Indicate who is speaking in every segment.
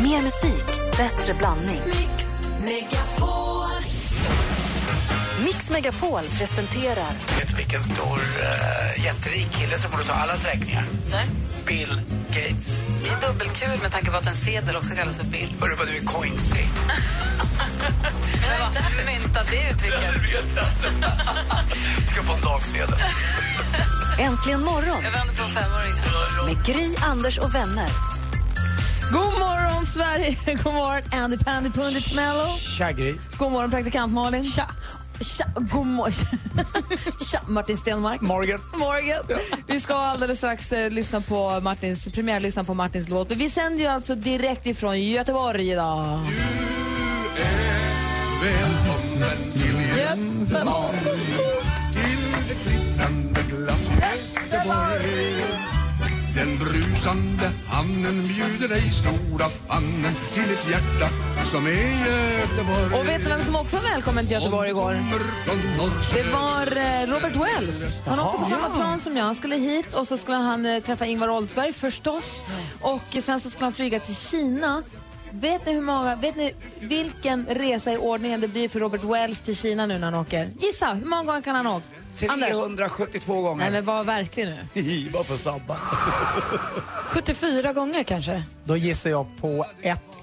Speaker 1: Mer musik, bättre blandning.
Speaker 2: Mix Megapol.
Speaker 1: Mix Megapol presenterar
Speaker 3: Vet du vilken stor eh, jätterik kille som borde ta allas räkningar?
Speaker 2: Nej,
Speaker 3: Bill Gates.
Speaker 2: det är dubbelkul med tanke på att en sedel också kallas för bild.
Speaker 3: Hörru vad du är coinstig.
Speaker 2: Jag har inte myntat det uttrycket.
Speaker 3: vet jag. Ska få en dagsedel.
Speaker 1: Äntligen morgon
Speaker 2: Jag vänder på femåringar.
Speaker 1: med Gry, Anders och vänner.
Speaker 4: God morgon, Sverige! God morgon, Andy Pandy Pundit Mello.
Speaker 3: Tja, Gry.
Speaker 4: God morgon, praktikant Malin. Tja! Tja, god morgon. Tja, Martin Stenmark.
Speaker 3: Morgan.
Speaker 4: Morgan. Vi ska alldeles strax eh, lyssna på Martins, premiärlyssna på Martins låt. Men vi sänder ju alltså direkt ifrån Göteborg idag.
Speaker 5: Välkommen till
Speaker 4: Göteborg!
Speaker 5: till ett glittrande glatt Göteborg Den brusande hamnen bjuder dig stora fannen till ett hjärta som är Göteborg
Speaker 4: Och vet ni vem som också var välkommen till Göteborg igår?
Speaker 5: Om du kommer från norr,
Speaker 4: Det
Speaker 5: söder,
Speaker 4: var eh, Robert Wells. Han åkte på samma plan som jag. Han skulle hit och så skulle han eh, träffa Ingvar Oldsberg förstås. Och eh, sen så skulle han flyga till Kina. Vet ni, hur många, vet ni vilken resa i ordningen det blir för Robert Wells till Kina nu när han åker? Gissa, hur många gånger kan han ha åkt? Anders?
Speaker 3: 372 gånger.
Speaker 4: Nej men var verklig nu.
Speaker 3: Bara för sabba.
Speaker 4: 74 gånger kanske?
Speaker 6: Då gissar jag på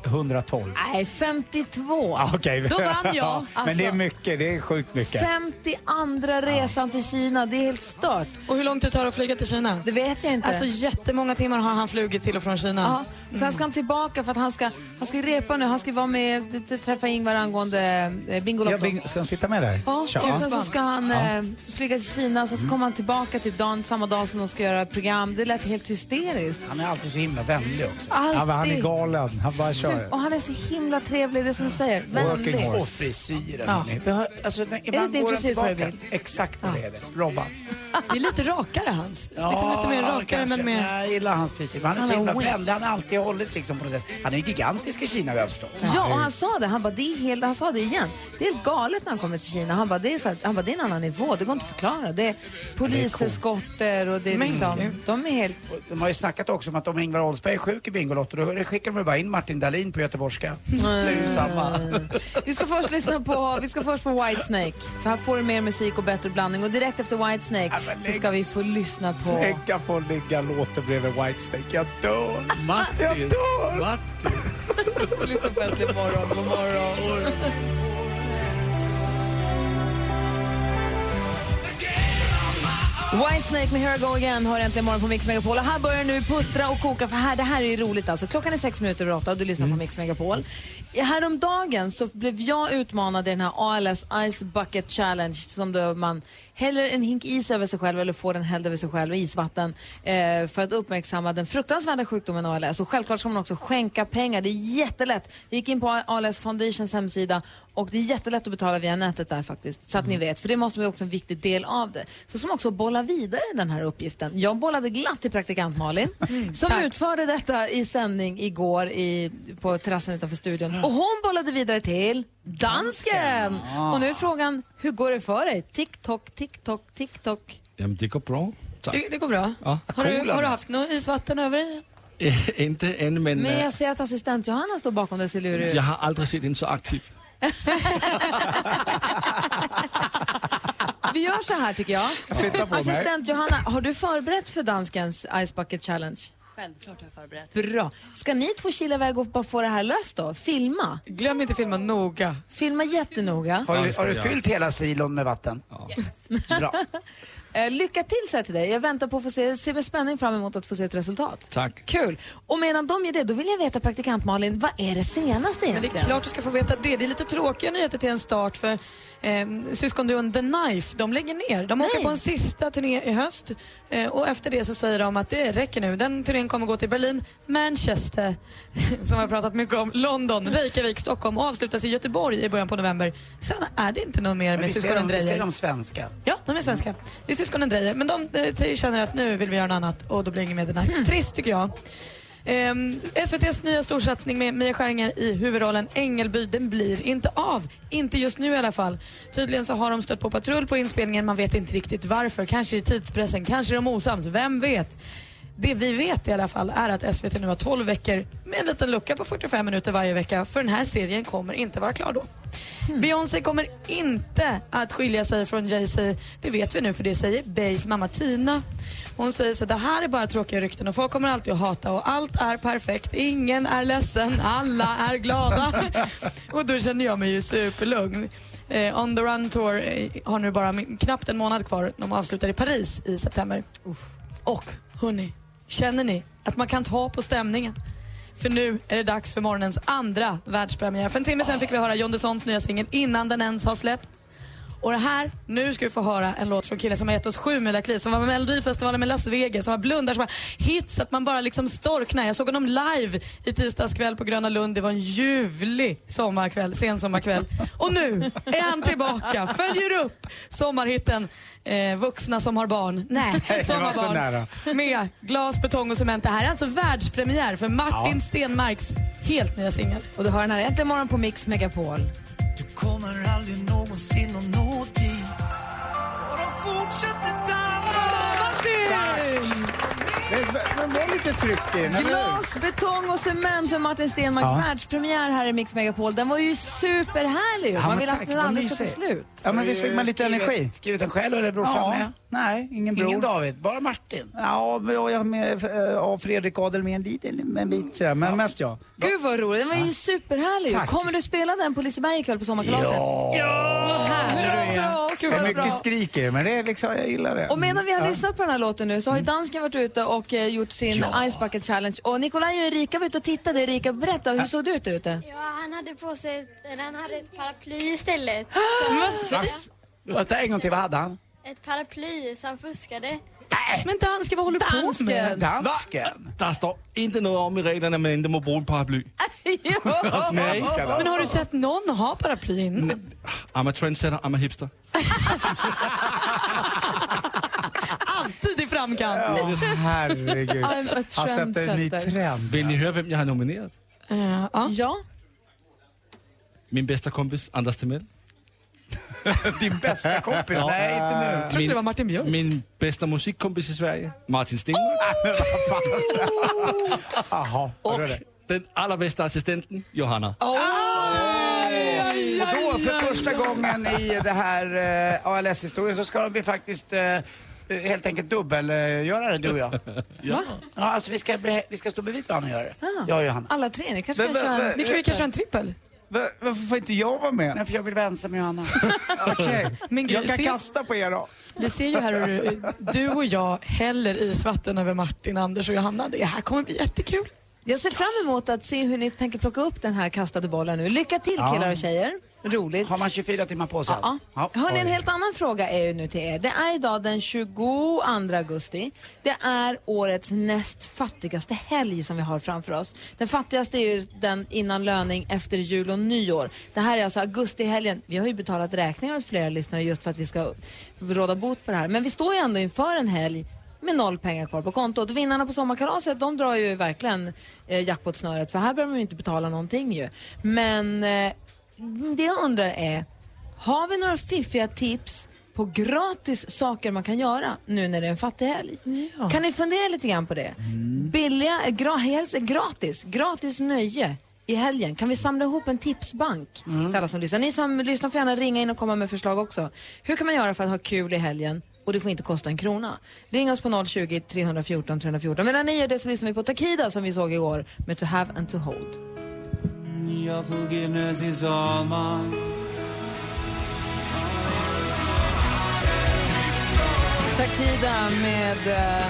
Speaker 6: 112.
Speaker 4: Nej, 52.
Speaker 6: Ah, Okej.
Speaker 4: Då vann jag.
Speaker 6: Ja,
Speaker 4: Alltså.
Speaker 6: Men det är mycket, det är sjukt mycket.
Speaker 4: 52 resan till Kina, det är helt stört.
Speaker 7: Och hur lång tid tar det att flyga till Kina?
Speaker 4: Det vet jag inte.
Speaker 7: Alltså jättemånga timmar har han flugit till och från Kina.
Speaker 4: Ja, sen ska han tillbaka för att han ska, han ska ju repa nu. Han ska ju vara med t- t- träffa Ingvar angående eh, Bingolotto.
Speaker 6: Jag bing, ska han sitta med där?
Speaker 4: Ja, och
Speaker 6: Tja. Mm.
Speaker 4: sen så ska han eh, flyga till Kina, sen så kommer han tillbaka typ dagen, samma dag som de ska göra program. Det lät helt hysteriskt.
Speaker 3: Han är alltid så himla vänlig också.
Speaker 4: Alltid.
Speaker 6: Ja, men han är galen, han bara
Speaker 4: Super-
Speaker 6: kör.
Speaker 4: Och han är så himla trevlig, det är som du säger. Vänlig.
Speaker 6: Working horse.
Speaker 3: Och frisyren. hörni. Vi har- Alltså, när, ibland
Speaker 4: din
Speaker 3: går han
Speaker 4: frisyr,
Speaker 3: tillbaka.
Speaker 4: Fredrik?
Speaker 3: Exakt vad det är det. Robban.
Speaker 7: Det är lite rakare hans. liksom lite mer
Speaker 3: Ja,
Speaker 7: rakare
Speaker 3: kanske.
Speaker 7: men mer...
Speaker 3: Jag gillar hans frisyr. men Han är
Speaker 4: Han
Speaker 3: så
Speaker 4: har
Speaker 3: himla
Speaker 4: wings.
Speaker 3: vänlig. Han har alltid hållit liksom på något sätt. Han är gigantisk i Kina, vad jag förstår.
Speaker 4: Ja, och han sa det. Han bara, det är helt, han sa det igen. Det är helt galet när han kommer till Kina. Han bara, det är, så här, han bara, det är en annan nivå. Det går inte att förklara. Det är poliseskorter och det är
Speaker 7: Men
Speaker 4: liksom,
Speaker 7: gud.
Speaker 4: de är helt
Speaker 3: De har ju snackat också om att om Ingvar Oldsberg är sjuk i Bingolotto då skickar de ju bara in Martin Dahlin på göteborgska. Så är det ju samma.
Speaker 4: Eh, Vi ska först lyssna på, vi ska först få Whitesnake. För här får du mer musik och bättre blandning. Och direkt efter Whitesnake
Speaker 3: men
Speaker 4: så
Speaker 3: lägg-
Speaker 4: ska vi få lyssna på...
Speaker 6: Tänk att få ligga låten bredvid Whitesnake. Jag dör. Jag
Speaker 3: Martin!
Speaker 6: dör!
Speaker 3: Martin!
Speaker 4: Lyssna på Äntligen morgon. God morgon. Whitesnake med Here I Go Again har äntligen morgon på Mix Megapol. Och här börjar nu puttra och koka för här, det här är ju roligt alltså. Klockan är sex minuter över åtta och du lyssnar på Mix Megapol. Häromdagen så blev jag utmanad i den här ALS Ice Bucket Challenge som då man häller en hink is över sig själv eller får den hälld över sig själv och isvatten eh, för att uppmärksamma den fruktansvärda sjukdomen ALS. Och självklart ska man också skänka pengar. Det är jättelätt. Jag gick in på ALS Foundations hemsida och det är jättelätt att betala via nätet där faktiskt. Så att ni vet, för det måste vara också en viktig del av det. Så som också bolla vidare den här uppgiften. Jag bollade glatt till praktikant Malin som utförde detta i sändning igår i, på terrassen utanför studion. Och hon bollade vidare till dansken! Och nu är frågan, hur går det för dig? TikTok, TikTok, TikTok.
Speaker 8: Jamen, det går bra. Tack.
Speaker 7: Det, det går bra.
Speaker 8: Ja.
Speaker 7: Har, du, har du haft något isvatten över dig?
Speaker 8: inte än, men,
Speaker 4: Men
Speaker 8: eh,
Speaker 4: jag ser att assistent Johanna står bakom dig och ser lurig ut.
Speaker 8: jag har aldrig sett en så aktiv.
Speaker 4: Vi gör så här tycker jag.
Speaker 6: flyttar på mig.
Speaker 4: Assistent Johanna, har du förberett för danskens Ice Bucket Challenge?
Speaker 2: Självklart har jag förberett.
Speaker 4: Bra. Ska ni två kila iväg och bara få det här löst då? Filma.
Speaker 7: Glöm inte filma noga.
Speaker 4: Filma jättenoga.
Speaker 3: Har du,
Speaker 8: det ska
Speaker 3: har du
Speaker 8: jag.
Speaker 3: fyllt hela silon med vatten? Bra.
Speaker 4: Eh, lycka till säger jag till dig. Jag väntar på att få se, ser med spänning fram emot att få se ett resultat.
Speaker 8: Tack.
Speaker 4: Kul. Och medan de gör det, då vill jag veta praktikant Malin, vad är det senaste
Speaker 7: Men det
Speaker 4: egentligen?
Speaker 7: är klart du ska få veta det. Det är lite tråkiga nyheter till en start för eh, syskonduon The Knife, de lägger ner. De åker
Speaker 4: Nej.
Speaker 7: på en sista turné i höst eh, och efter det så säger de att det räcker nu. Den turnén kommer gå till Berlin, Manchester, som jag pratat mycket om, London, Reykjavik, Stockholm och avslutas i Göteborg i början på november. Sen är det inte något mer
Speaker 3: Men
Speaker 7: med
Speaker 3: visst är de-
Speaker 7: syskonen
Speaker 3: visst är
Speaker 7: Drejer.
Speaker 3: de svenska?
Speaker 7: Ja, de är svenska. Det är syskonen Drejer. Men de eh, t- känner att nu vill vi göra något annat och då blir det ingen med The Knife. Trist tycker jag. Ehm, SVTs nya storsatsning med Mia Skäringer i huvudrollen Ängelby, den blir inte av. Inte just nu i alla fall. Tydligen så har de stött på patrull på inspelningen, man vet inte riktigt varför. Kanske är det tidspressen, kanske är de osams, vem vet? Det vi vet i alla fall är att SVT nu har 12 veckor med en liten lucka på 45 minuter varje vecka för den här serien kommer inte vara klar då. Beyoncé kommer inte att skilja sig från Jay-Z. Det vet vi nu för det säger Bays mamma Tina. Hon säger så det här är bara tråkiga rykten och folk kommer alltid att hata och allt är perfekt. Ingen är ledsen, alla är glada. och då känner jag mig ju superlugn. Eh, On the Run Tour eh, har nu bara min- knappt en månad kvar. De avslutar i Paris i september. Och hörni, känner ni att man kan ta på stämningen? För nu är det dags för morgonens andra världspremiär. För en timme sen fick vi höra John Dessons nya singel innan den ens har släppt. Och det här, nu ska vi få höra en låt från killen som har gett oss sju kliv som var med i Melodifestivalen med Las Vegas, som har blundar, som har hits, att man bara liksom storknar. Jag såg honom live i tisdags kväll på Gröna Lund. Det var en ljuvlig sommarkväll, sensommarkväll. Och nu är han tillbaka, följer upp sommarhitten eh, Vuxna som har barn. Nej,
Speaker 6: det var så
Speaker 7: sommarbarn.
Speaker 6: nära.
Speaker 7: Med glas, betong och cement. Det här är alltså världspremiär för Martin Stenmarks helt nya singel.
Speaker 4: Och du hör den här Äntligen morgon på Mix Megapol.
Speaker 9: Du kommer aldrig någonsin att nå dit Och de fortsätter
Speaker 6: Tack! Det det var lite tryck i den, eller hur?
Speaker 4: Glas, betong och cement med Martin Stenmarck. Världspremiär här i Mix Megapol. Den var ju superhärlig. ju.
Speaker 6: Ja,
Speaker 4: Man
Speaker 6: men
Speaker 4: vill
Speaker 6: tack,
Speaker 4: att den
Speaker 6: vad
Speaker 4: aldrig ska ta
Speaker 6: mysigt.
Speaker 4: slut.
Speaker 6: Ja, men visst fick man lite
Speaker 3: Skrivit-
Speaker 6: energi?
Speaker 3: Skrivit den själv eller är brorsan
Speaker 6: Ja,
Speaker 3: med?
Speaker 6: nej, ingen bror.
Speaker 3: Ingen David, bara Martin.
Speaker 6: Ja, men jag jag har med eh, av Fredrik Adel med en liten en bit sådär, men mest jag.
Speaker 4: Gud vad roligt. Den var ju superhärlig. ju.
Speaker 6: Tack.
Speaker 4: Kommer du spela den på Liseberg ikväll på sommarkalaset? Ja! Bra för oss.
Speaker 6: Det är
Speaker 4: vad
Speaker 6: mycket
Speaker 4: bra.
Speaker 6: skrik i det, men det är liksom, jag gillar det.
Speaker 4: Och medan vi
Speaker 6: Mm.
Speaker 4: har lyssnat på den här låten nu så har ju dansken varit ute och eh, gjort sin Ice Bucket Challenge. Och Nikolaj och Erika var ute och tittade. Erika, berätta, hur såg du ut där ute?
Speaker 10: Ja, han hade på sig, ett- eller han hade ett paraply istället.
Speaker 6: Mm.
Speaker 3: Vass. Vänta en gång till, vad hade han?
Speaker 10: Ett paraply, så han fuskade.
Speaker 7: Men danske, vad håller du på med?
Speaker 4: Dansken!
Speaker 3: Dansken.
Speaker 8: Der står inte noget om i reglerne, at man ikke må bruge en paraply.
Speaker 7: Ah! Alltså,
Speaker 8: Nej.
Speaker 7: Men har du sett någon ha paraply Mm. innan?
Speaker 8: I'm a trendsetter, I'm a hipster.
Speaker 7: Alltid i framkant.
Speaker 6: Åh, herregud.
Speaker 4: I'm a
Speaker 6: Han sätter en ny
Speaker 4: trendsetter.
Speaker 6: trend.
Speaker 8: Vil I høre, hvem jeg har nomineret?
Speaker 7: Eh, ja.
Speaker 4: Ja.
Speaker 8: Min bedste kompis, Anders Timell.
Speaker 7: Ah.
Speaker 3: Din bästa kompis? Nej, inte nu.
Speaker 7: Jag trodde
Speaker 8: Min-
Speaker 7: det var Martin Björk.
Speaker 8: Min bedste musikkompis i Sverige, Martin Stenmark.
Speaker 7: Ah,
Speaker 6: Jaha,
Speaker 8: Og
Speaker 6: hörde du det?
Speaker 8: den allerbedste assistenten, Johanna.
Speaker 3: Och då, för första gången i det här eh, ALS-historien så ska vi faktiskt eh, helt enkelt dubbelgöra det, du och jag. Ja. ja alltså vi ska, bli, vi ska stå bredvid varandra och göra det.
Speaker 4: Ah.
Speaker 3: Jag och Johanna.
Speaker 4: Alla tre, ni kanske kan
Speaker 6: Men, men,
Speaker 4: köra en...
Speaker 6: men-
Speaker 7: Ni kan, vi kan köra en trippel.
Speaker 6: Va- Varför får inte jag vara med?
Speaker 3: Nej, för jag vill vara ensam med Johanna.
Speaker 6: Okej,
Speaker 7: Men Gry,
Speaker 6: jag kan
Speaker 7: ser-
Speaker 6: kasta på er då.
Speaker 7: Du ser ju här hur du- du och jag häller isvatten över Martin, Anders och Johanna. Det här kommer bli jättekul.
Speaker 4: Jag ser fram emot att se hur ni tänker plocka upp den här kastade bollen nu. Lycka till killar och tjejer. Roligt.
Speaker 3: Har man 24 timmar på sig alltså?
Speaker 4: Ja. Hörrni, en helt annan fråga är ju nu till er. Det är idag den 22 augusti. Det är årets näst fattigaste helg som vi har framför oss. Den fattigaste är ju den innan löning efter jul och nyår. Det här är alltså augustihelgen. Vi har ju betalat räkningar åt flera lyssnare just för att vi ska råda bot på det här. Men vi står ju ändå inför en helg med noll pengar kvar på kontot. Vinnarna på sommarkalaset, de drar ju verkligen eh, jackpot-snöret för här behöver man ju inte betala någonting ju. Men eh, det jag undrar är, har vi några fiffiga tips på gratis saker man kan göra nu när det är en fattig helg? Kan ni fundera lite grann på det? Billiga, gra, helst gratis, gratis nöje i helgen. Kan vi samla ihop en tipsbank till alla som lyssnar? Ni som lyssnar får gärna ringa in och komma med förslag också. Hur kan man göra för att ha kul i helgen? Och det får inte kosta en krona. Ring oss på 020-314 314. Men när ni gör det så lyssnar vi på Takida som vi såg igår med To have and to hold.
Speaker 9: Your forgiveness is all mine
Speaker 4: Takida med eh,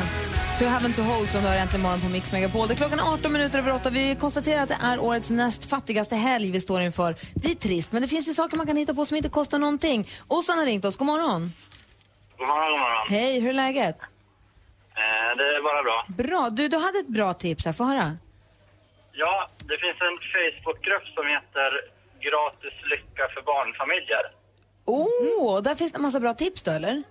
Speaker 4: To have and to hold som du har äntligen morgon på Mix Megapol. Det är klockan 18 minuter över 8. Vi konstaterar att det är årets näst fattigaste helg vi står inför. Det är trist, men det finns ju saker man kan hitta på som inte kostar någonting. Åsan har ringt oss. God morgon.
Speaker 11: God morgon, god morgon.
Speaker 4: Hej, hur är läget?
Speaker 11: Eh, det är bara bra.
Speaker 4: Bra. Du, du hade ett bra tips här. Få höra.
Speaker 11: Ja, det finns en Facebookgrupp som heter Gratis lycka för barnfamiljer.
Speaker 4: Åh,
Speaker 11: Mm.
Speaker 4: där finns det en massa bra tips då, eller?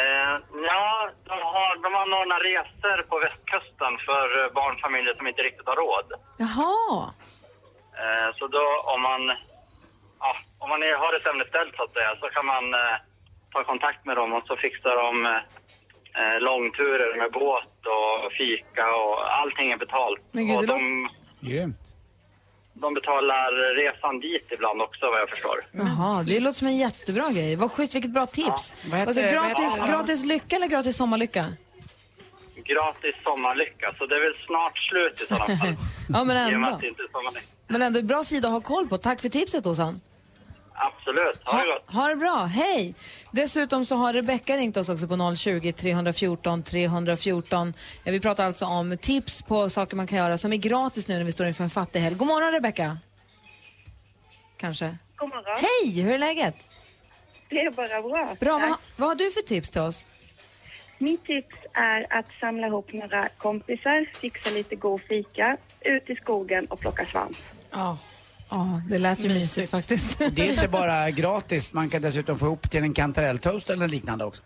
Speaker 11: Eh, ja, de, har, de anordnar resor på västkusten för eh, barnfamiljer som inte riktigt har råd.
Speaker 4: Jaha.
Speaker 11: Eh, så då om man, ja, om man är, har det sämre ställt så att säga, så kan man eh, ta kontakt med dem och så fixar de eh, eh, långturer med båt och fika och allting är betalt.
Speaker 4: Men gud,
Speaker 11: och
Speaker 4: det
Speaker 11: de,
Speaker 3: Grymt.
Speaker 11: de betalar resan dit ibland också vad jag förstår.
Speaker 4: Jaha, det låter som en jättebra grej. Vad schysst, vilket bra tips.
Speaker 11: Vad heter-
Speaker 4: alltså,
Speaker 11: vad heter-
Speaker 4: gratis, gratis lycka eller gratis sommarlycka?
Speaker 11: Gratis sommarlycka, så det är väl snart slut i sådana fall.
Speaker 4: Ja, men
Speaker 11: I och med
Speaker 4: ändå.
Speaker 11: att det inte är sommarlycka.
Speaker 4: Men ändå bra sida att ha koll på. Tack för tipset, Åsan.
Speaker 11: Absolut, ha det gott.
Speaker 4: Ha det bra, hej! Dessutom så har Rebecka ringt oss också på 020-314 314. Ja, Vi pratar alltså om tips på saker man kan göra som är gratis nu när vi står inför en fattig helg. God morgon Rebecka! Kanske.
Speaker 12: God morgon.
Speaker 4: Hej, hur är läget?
Speaker 12: Det är bara bra.
Speaker 4: Bra, vad,
Speaker 12: Tack.
Speaker 4: ha- vad har du för tips till oss?
Speaker 12: Mitt tips är att samla ihop några kompisar, fixa lite god fika, ut i skogen och plocka svamp.
Speaker 4: Ja. Ja, det lät ju mysigt faktiskt.
Speaker 3: Det är inte bara gratis, man kan dessutom få ihop till en kantarelltoast eller liknande också.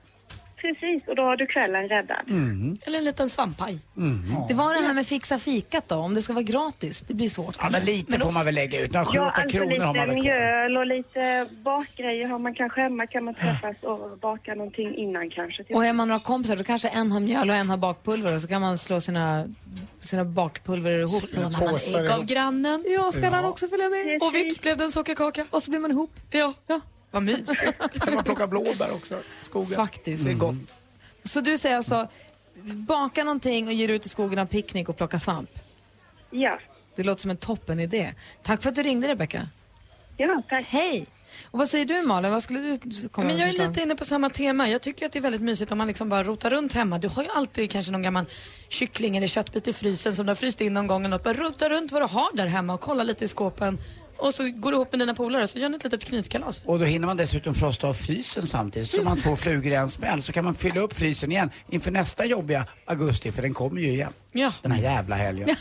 Speaker 12: Precis, och då har du kvällen räddad.
Speaker 3: Mm.
Speaker 7: Eller en liten svampaj.
Speaker 4: Det var det här med fixa fikat då, om det ska vara gratis. Det blir svårt
Speaker 3: Ja,
Speaker 4: kanske.
Speaker 3: men lite får man väl lägga ut. Några sju,
Speaker 12: Ja,
Speaker 3: åtta
Speaker 12: alltså
Speaker 3: kronor har man
Speaker 12: lite
Speaker 3: väl kvar.
Speaker 12: mjöl och lite bakgrejer har man kanske hemma. Kan man träffas och baka någonting innan kanske.
Speaker 4: Och är man några kompisar då kanske en har mjöl och en har bakpulver och så kan man slå sina, sina bakpulver ihop.
Speaker 7: Så lånar man ägg av grannen.
Speaker 4: Ja, ska han också följa med?
Speaker 7: Och vips blev det en sockerkaka.
Speaker 4: Och så blir man ihop.
Speaker 7: Ja.
Speaker 4: ja.
Speaker 7: Vad mysigt.
Speaker 3: kan man plocka blåbär också, skogen.
Speaker 4: Faktiskt.
Speaker 3: Det är gott.
Speaker 4: Så du säger alltså, baka någonting och ge dig ut i skogen och ha picknick och plocka svamp.
Speaker 12: Ja.
Speaker 4: Det låter som en toppen idé. Tack för att du ringde Rebecka.
Speaker 12: Ja, tack.
Speaker 4: Hej! Och vad säger du Malin? Vad skulle du
Speaker 7: Men
Speaker 4: komma med
Speaker 7: jag är
Speaker 4: förslag?
Speaker 7: lite inne på samma tema. Jag tycker att det är väldigt mysigt om man liksom bara rotar runt hemma. Du har ju alltid kanske någon gammal kyckling eller köttbit i frysen som du har fryst in någon gång eller något. Bara rota runt vad du har där hemma och kolla lite i skåpen. Och så går du ihop med dina polare så gör ni ett litet knytkalas.
Speaker 3: Och då hinner man dessutom frosta av frysen samtidigt så man får flugor i en smäll. Så kan man fylla upp frysen igen inför nästa jobbiga augusti, för den kommer ju igen.
Speaker 7: Ja.
Speaker 3: Den här jävla helgen.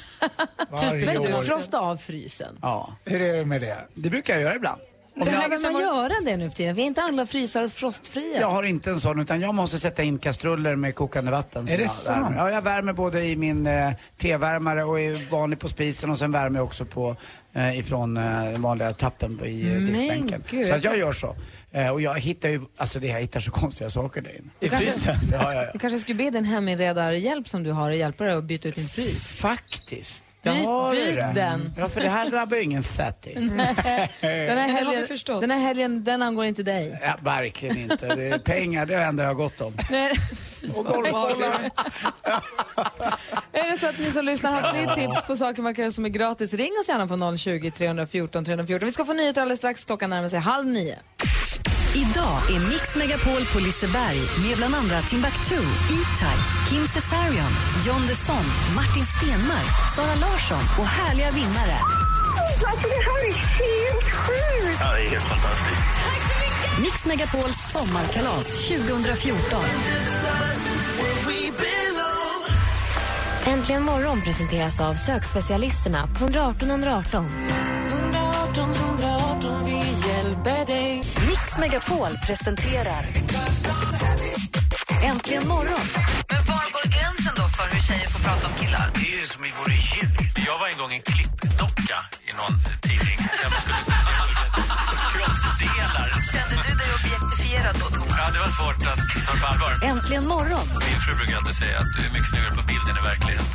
Speaker 3: Varje
Speaker 4: Men du,
Speaker 3: år.
Speaker 4: frosta av frysen.
Speaker 3: Ja. Hur är det med det? Det brukar jag göra ibland. Om
Speaker 4: Hur
Speaker 3: jag-
Speaker 4: länge man göra det nu för tiden? Vi är inte alla frysar frostfria.
Speaker 3: Jag har inte en sån utan jag måste sätta in kastruller med kokande vatten. som
Speaker 6: Är det
Speaker 3: jag
Speaker 6: sant?
Speaker 3: värmer. Ja, jag värmer både i min eh, tevärmare och är vanlig på spisen och sen värmer jag också på eh, ifrån eh, den vanliga tappen på- i eh,
Speaker 4: Men
Speaker 3: diskbänken.
Speaker 4: gud.
Speaker 3: Så att jag gör så. Eh, och jag hittar ju, alltså det jag hittar så konstiga saker där inne. I
Speaker 4: kanske-
Speaker 3: frysen? Ja, ja, ja.
Speaker 4: Du kanske skulle be den heminredarhjälp som du har att hjälpa dig att byta ut din frys.
Speaker 3: Faktiskt.
Speaker 4: Byt,
Speaker 3: Där har du
Speaker 4: byt
Speaker 3: det.
Speaker 4: den.
Speaker 3: Ja, för det här drabbar ju ingen fattig.
Speaker 4: Den här
Speaker 7: Det har vi
Speaker 4: helgen,
Speaker 7: förstått.
Speaker 4: den, här helgen den angår inte dig.
Speaker 3: Ja, verkligen inte. Det är pengar, det är det enda jag har gott om.
Speaker 4: Nej.
Speaker 3: Och golfbollar.
Speaker 4: Är det så att ni som lyssnar har fler tips på saker man kan göra som är gratis, ring oss gärna på 020 314 314. Vi ska få nyheter alldeles strax. Klockan närmar sig halv nio.
Speaker 1: Idag är Mix Megapol på Liseberg med bland andra Timbuktu, E-Type, Kim Cesarion, John Desson, Martin Stenmark, Sara Larsson och härliga vinnare.
Speaker 9: Alltså det här är helt sjukt!
Speaker 11: Ja, det är helt fantastiskt.
Speaker 1: Mix Megapols sommarkalas 2014.
Speaker 13: Äntligen morgon presenteras av sökspecialisterna på 118 118.
Speaker 1: 118 118, vi hjälper dig. Mix Megapol presenterar Äntligen morgon.
Speaker 4: Men var går gränsen då för hur tjejer får prata om killar?
Speaker 14: Det är ju som vi vore djur. Jag var en gång en klippdocka i någon tidning. Där man skulle kroppsdelar.
Speaker 4: Kände du dig objektifierad då, Thomas?
Speaker 14: Ja, det var svårt att ta på allvar.
Speaker 1: Äntligen morgon
Speaker 14: Min fru brukar alltid säga att du är mycket snyggare på bilden i verkligheten.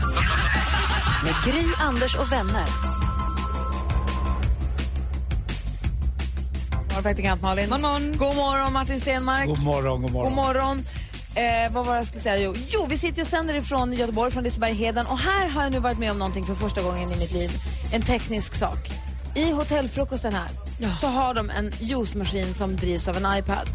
Speaker 1: med Gry, Anders och vänner.
Speaker 4: Morgon, praktikant Malin. God morgon. God morgon, Martin Stenmark.
Speaker 6: God morgon, god morgon.
Speaker 4: God morgon. Eh, vad var det jag skulle säga? Jo, jo vi sitter ju och sänder ifrån Göteborg, från Liseberg-Heden. Och här har jag nu varit med om någonting för första gången i mitt liv. En teknisk sak. I hotellfrukosten här så har de en juicemaskin som drivs av en iPad.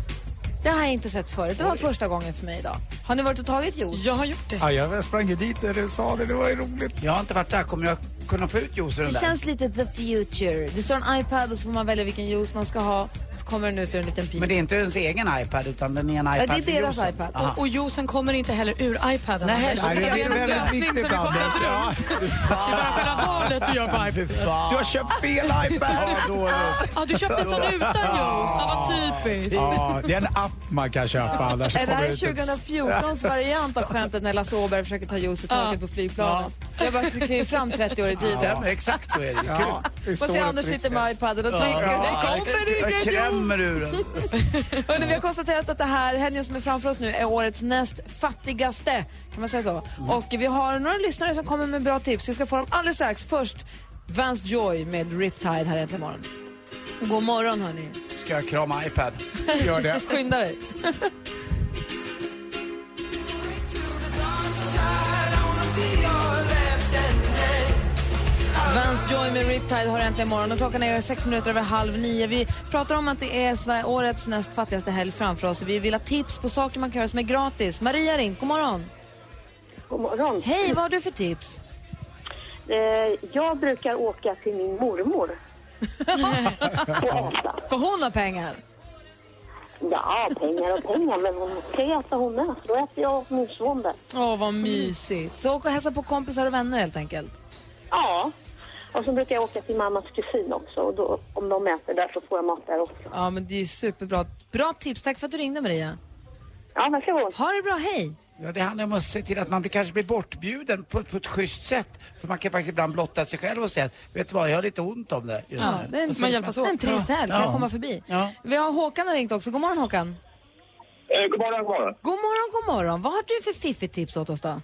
Speaker 4: Det har jag inte sett förut. Det var första gången för mig idag. Har ni varit och tagit juice?
Speaker 7: Jag har gjort det.
Speaker 6: Ja, jag sprang ju dit när du sa det, det var ju roligt.
Speaker 3: Jag har inte varit där, kommer jag kunna få ut juice i den
Speaker 4: Det
Speaker 3: där?
Speaker 4: känns lite the future. Det står en iPad och så får man välja vilken juice man ska ha. Så kommer den ut ur en liten pil.
Speaker 3: Men det är inte ens egen iPad utan den är en
Speaker 4: Ja,
Speaker 3: iPad
Speaker 4: det är deras
Speaker 3: juicen.
Speaker 4: iPad.
Speaker 3: Aha.
Speaker 7: Och, och juicen kommer inte heller ur iPaden.
Speaker 3: Nej,
Speaker 7: Anders.
Speaker 3: nej, det är
Speaker 7: det är en
Speaker 3: väldigt
Speaker 7: lösning som vi
Speaker 3: viktigt,
Speaker 7: kommer
Speaker 3: Anders.
Speaker 7: runt. Det är bara själva valet du gör på iPaden.
Speaker 6: Du har köpt fel iPad!
Speaker 7: Ja,
Speaker 6: då,
Speaker 7: Ja, du köpte en sån utan juice. Ja, vad typiskt.
Speaker 6: Ja, det är en app man kan köpa annars
Speaker 4: Är det
Speaker 6: kommer
Speaker 4: här
Speaker 6: ut ett-
Speaker 4: 2014s variant av skämtet när Lasse Åberg försöker ta juice ur taket på flygplanet? Jag bara kliver fram 30 år i tiden.
Speaker 3: Stämmer, exakt så är det. Kul.
Speaker 4: Ja,
Speaker 3: Det
Speaker 4: Får
Speaker 3: står
Speaker 4: se
Speaker 3: och
Speaker 4: Anders sitter
Speaker 3: trycker.
Speaker 4: med iPaden och
Speaker 3: Ja.
Speaker 4: trycker.
Speaker 3: Ja,
Speaker 4: det kommer
Speaker 3: jag
Speaker 4: inget jobb!
Speaker 3: klämmer ur den.
Speaker 4: Hörrni, vi har konstaterat att det här helgen som är framför oss nu är årets näst fattigaste. Kan man säga så? Och vi har några lyssnare som kommer med bra tips. Vi ska få dem alldeles strax. Först Vance Joy med Riptide här äntligen morgon. God morgon hörni.
Speaker 3: Ska jag krama iPad? Gör det.
Speaker 4: Skynda dig. Vance Joy med Riptide har äntligen morgon och klockan är sex minuter över halv nio. Vi pratar om att det är Sverige, årets näst fattigaste helg framför oss. Vi vill ha tips på saker man kan göra som är gratis. Maria ring, god morgon.
Speaker 15: God morgon.
Speaker 4: Hej, vad har du för tips?
Speaker 15: Eh, jag brukar åka till min mormor.
Speaker 4: För hon har pengar.
Speaker 15: Ja, pengar och pengar, men hon kan ju äta hon med. så Då äter jag min son där.
Speaker 4: Åh, vad mysigt. Så åk och hälsa på kompisar och vänner helt enkelt.
Speaker 15: Ja. Och så brukar jag åka till mammas kusin också. Och då, om de äter där så får jag mat där också.
Speaker 4: Ja, men det är ju superbra. Bra tips. Tack för att du ringde, Maria.
Speaker 15: Ja, varsågod.
Speaker 4: Ha det bra. Hej!
Speaker 3: Ja, det handlar om att se till att man blir- kanske blir bortbjuden på, på ett schysst sätt. För man kan faktiskt ibland blotta sig själv och säga att vet du vad, jag har lite ont om det just
Speaker 4: Ja,
Speaker 3: nu.
Speaker 4: det är en,
Speaker 3: Och så-
Speaker 4: en trist helg. Kan
Speaker 3: Ja.
Speaker 4: jag komma förbi? Vi har Håkan har ringt också. God morgon, Håkan.
Speaker 16: Eh, god morgon, god morgon.
Speaker 4: God morgon, god morgon. Vad har du för fiffigt tips åt oss då?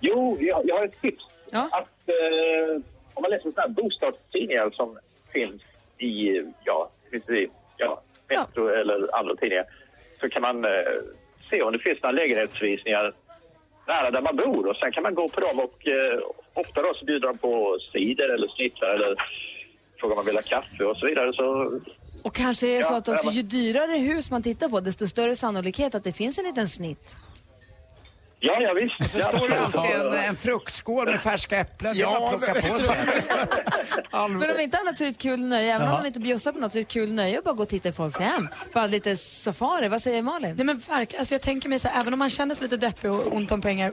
Speaker 16: Jo, jag, jag har ett tips. Att, eh, om man läser sådana här bostadstidningar som finns i, ja, finns i ja, Metro eller andra tidningar så kan man eh, se om det finns några lägenhetsvisningar nära där man bor och sen kan man gå på dem och eh, ofta då så bjuder de på cider eller snittar eller frågar om man vill ha kaffe och så vidare. Så
Speaker 4: Och kanske är det så
Speaker 16: Ja,
Speaker 4: att också,
Speaker 16: nej, men-
Speaker 4: ju dyrare hus man tittar på, desto större sannolikhet att det finns en liten snitt.
Speaker 16: Ja, ja visst.
Speaker 3: Och så
Speaker 16: Ja,
Speaker 3: står det alltid en,
Speaker 16: ja.
Speaker 3: en fruktskål med färska äpplen.
Speaker 16: Ja,
Speaker 3: Ja, man plockar på sig.
Speaker 4: Men om inte annat så är det ett kul nöje. Även om
Speaker 3: Ja.
Speaker 4: man inte bjussar på något så är det ett kul nöje att bara gå och titta i folks hem. Bara lite safari. Vad säger Malin?
Speaker 7: Nej men verkligen, alltså jag tänker mig så här, även om man känner sig lite deppig och ont om pengar,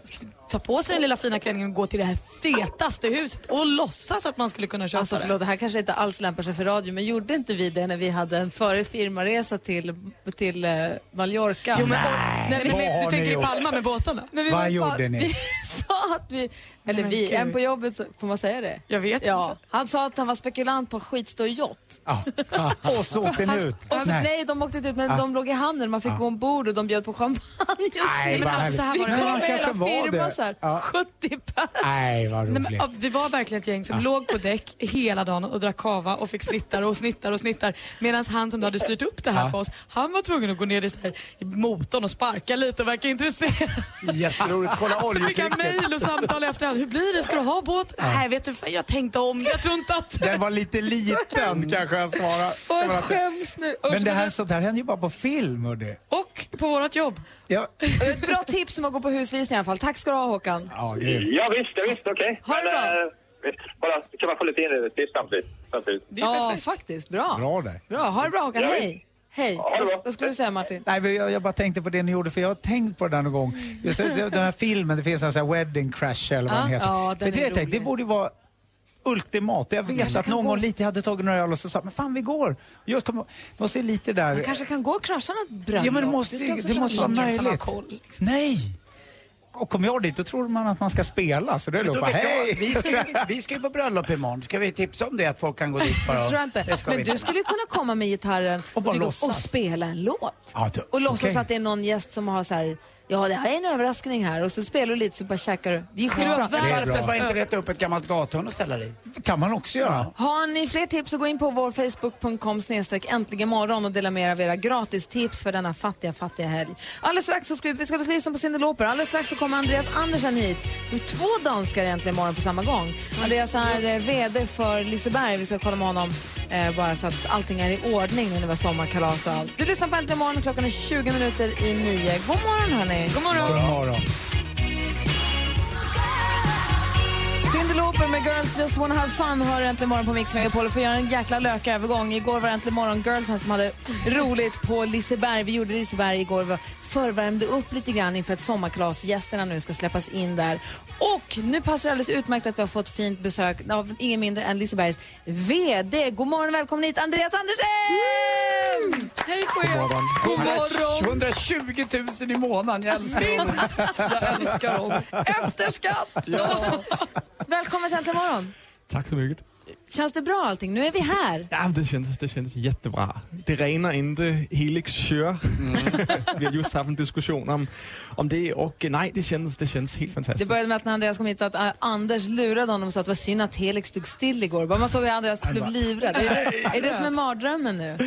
Speaker 7: ta på sig den lilla fina klänningen och gå till det här fetaste huset och låtsas att man skulle kunna köpa
Speaker 4: Alltså förlåt, det här kanske inte alls lämpar sig för radio, men gjorde inte vi det när vi hade en före firmaresa till, till eh, Mallorca?
Speaker 7: Jo, men-
Speaker 4: Nej,
Speaker 7: Nej, men-
Speaker 4: vad
Speaker 7: men- du
Speaker 4: har ni
Speaker 7: tänker i
Speaker 4: gjort?
Speaker 7: Palma med båtarna?
Speaker 4: Nej, vi
Speaker 7: Vad
Speaker 4: var i Pal-
Speaker 7: gjorde ni?
Speaker 4: Vi sa att vi, eller
Speaker 7: men
Speaker 4: vi,
Speaker 7: gud.
Speaker 4: en på jobbet, så, får man säga det?
Speaker 7: Jag vet
Speaker 4: ja. Han sa att han var spekulant på en skitstor yacht.
Speaker 6: Ah, Och så åkte ni
Speaker 4: Han-
Speaker 6: ut.
Speaker 4: Och så, nej. de åkte inte ut men
Speaker 6: Ah.
Speaker 4: de låg i handen. Man fick
Speaker 6: Ah.
Speaker 4: gå ombord och de bjöd på champagne.
Speaker 6: Nej,
Speaker 4: men
Speaker 6: vad
Speaker 4: alltså, så här
Speaker 6: härligt.
Speaker 4: var det.
Speaker 6: Men
Speaker 4: Vi kom
Speaker 6: han
Speaker 4: med hela
Speaker 6: kanske var
Speaker 4: firman
Speaker 6: det. Ah.
Speaker 4: så här.
Speaker 6: Ja.
Speaker 4: 70 pers.
Speaker 6: Nej, vad
Speaker 7: Nej,
Speaker 6: roligt.
Speaker 7: men, ja, vi var verkligen ett gäng som
Speaker 6: Ja.
Speaker 7: låg på däck hela dagen och drack kava och fick snittar och snittar och snittar. Medan han som då hade styrt upp det här
Speaker 6: Ja.
Speaker 7: för oss, han var tvungen att gå ner i, så här, i motorn och sparka lite och verka intresserad.
Speaker 6: Mm.
Speaker 3: Jätteroligt. Kolla
Speaker 7: Så fick han
Speaker 3: oljetrycket.
Speaker 7: mejl och samtal i efterhand. Hur blir det? Ska du ha båt? Nej, vet du, fan, jag tänkte om. Jag tror inte att...
Speaker 6: Den var lite liten kanske jag svarar. Ska
Speaker 7: Åh,
Speaker 6: man
Speaker 7: jag
Speaker 6: att-
Speaker 7: skäms nu.
Speaker 6: Men
Speaker 7: Usch,
Speaker 6: det här,
Speaker 7: men-
Speaker 6: sånt här händer ju bara på film. Och det.
Speaker 7: Och på vårt jobb.
Speaker 6: Ja,
Speaker 4: Ett bra tips om att gå på husvisning i alla fall. Tack ska du ha Håkan.
Speaker 6: ja, grymt.
Speaker 16: Ja, visst, ja, visst, okej.
Speaker 4: Ha det
Speaker 16: Men,
Speaker 4: bra.
Speaker 16: eh, visst, Bara, kan man få lite inredningstips samtidigt? samtidigt.
Speaker 4: Ja, faktiskt. Bra.
Speaker 6: Bra där.
Speaker 4: Bra, ha det bra Håkan.
Speaker 6: Ja,
Speaker 4: Hej. Hej.
Speaker 6: det
Speaker 4: Vad, vad skulle du säga Martin?
Speaker 6: Nej, men jag, jag bara tänkte på det ni gjorde, för jag har tänkt på det där någon gång. Just den här filmen, det finns en sån här Wedding Crash eller vad
Speaker 4: Ja.
Speaker 6: den heter.
Speaker 4: Ja, den
Speaker 6: för det,
Speaker 4: är Mm.
Speaker 6: jag tänkte, det borde ju vara ultimat. Jag vet
Speaker 4: kanske
Speaker 6: att
Speaker 4: kan
Speaker 6: någon
Speaker 4: gå.
Speaker 6: gång lite hade tagit några öl och så sa men fan vi går. Jag kommer, det måste ju lite där...
Speaker 4: Man kanske kan gå och krascha något bröllop.
Speaker 6: Ja, men det måste,
Speaker 4: Det ska
Speaker 6: det
Speaker 4: också
Speaker 6: det måste vara
Speaker 4: finnas någon som har
Speaker 6: möjligt. Nej! Och kommer jag dit, då tror man att man ska spela, så då är det
Speaker 3: Då
Speaker 6: bara
Speaker 3: vet jag,
Speaker 6: hej!
Speaker 3: vi, ska, ju- vi ska ju på bröllop imorgon. Ska vi tipsa om det att folk kan gå dit bara?
Speaker 4: Jag
Speaker 3: och-
Speaker 4: tror jag inte.
Speaker 3: Det ska vi
Speaker 4: Men
Speaker 3: inte.
Speaker 4: du skulle ju kunna komma med gitarren och,
Speaker 3: bara
Speaker 4: dyka upp
Speaker 3: låtsas.
Speaker 4: och spela en låt.
Speaker 3: Ja, du-
Speaker 4: Och låtsas
Speaker 3: okej.
Speaker 4: att det är någon gäst som har så här, ja det här är en överraskning här och så spelar du lite så bara käkar du. Det är skitbra.
Speaker 3: Det är bra. Var
Speaker 4: Världens-
Speaker 3: inte leta upp ett gammalt gathörn och ställa dig
Speaker 6: kan man också göra.
Speaker 4: Har ni fler tips så gå in på vår facebook.com snedstreck äntligen morgon och dela med er av era gratis tips för denna fattiga, fattiga helg. Alldeles strax så ska vi, vi ska lyssna på Cyndi Lauper. Alldeles strax så kommer Andreas Andersen hit. Det är två danskar äntligen morgon på samma gång. Andreas är eh, VD för Liseberg. Vi ska kolla med honom eh, bara så att allting är i ordning nu när vi har sommarkalas och allt. Du lyssnar på Äntligen morgon och klockan är 20 minuter i nio. God morgon hörni!
Speaker 7: God morgon!
Speaker 6: God morgon.
Speaker 4: Cyndi Loper med Girls Just Wanna Have Fun har äntligen morgon på Mix Megapol. Och får göra en jäkla lökig övergång. Igår var det äntligen morgon girlsen som hade roligt på Liseberg. Vi gjorde Liseberg igår. Vi förvärmde upp lite grann inför att sommarkalasgästerna nu ska släppas in där. Och nu passar det alldeles utmärkt att vi har fått fint besök av ingen mindre än Lisebergs VD. God morgon och välkommen hit, Andreas Andersen!
Speaker 7: Hej på
Speaker 3: God morgon.
Speaker 4: God morgon.
Speaker 3: 120 000 i månaden. Jag älskar honom. Jag älskar honom.
Speaker 7: Efter skatt!
Speaker 4: Välkommen till Äntligen morgon.
Speaker 8: Tack så mycket.
Speaker 4: Känns det bra allting? Nu är vi här.
Speaker 8: Ja, men det kändes, det kändes jättebra. Det regnar inte, Helix kör. vi har just haft en diskussion om, om det och eh, nej, det kändes, det kändes helt
Speaker 4: Det
Speaker 8: fantastiskt.
Speaker 4: började med att när Andreas kom hit att eh, Anders lurade honom och sa att det var synd att Helix stod still igår. Bara Man såg hur Andreas
Speaker 3: Han
Speaker 4: blev
Speaker 3: bara,
Speaker 4: livrädd. Är det, är det som är
Speaker 3: Andreas.
Speaker 4: mardrömmen nu?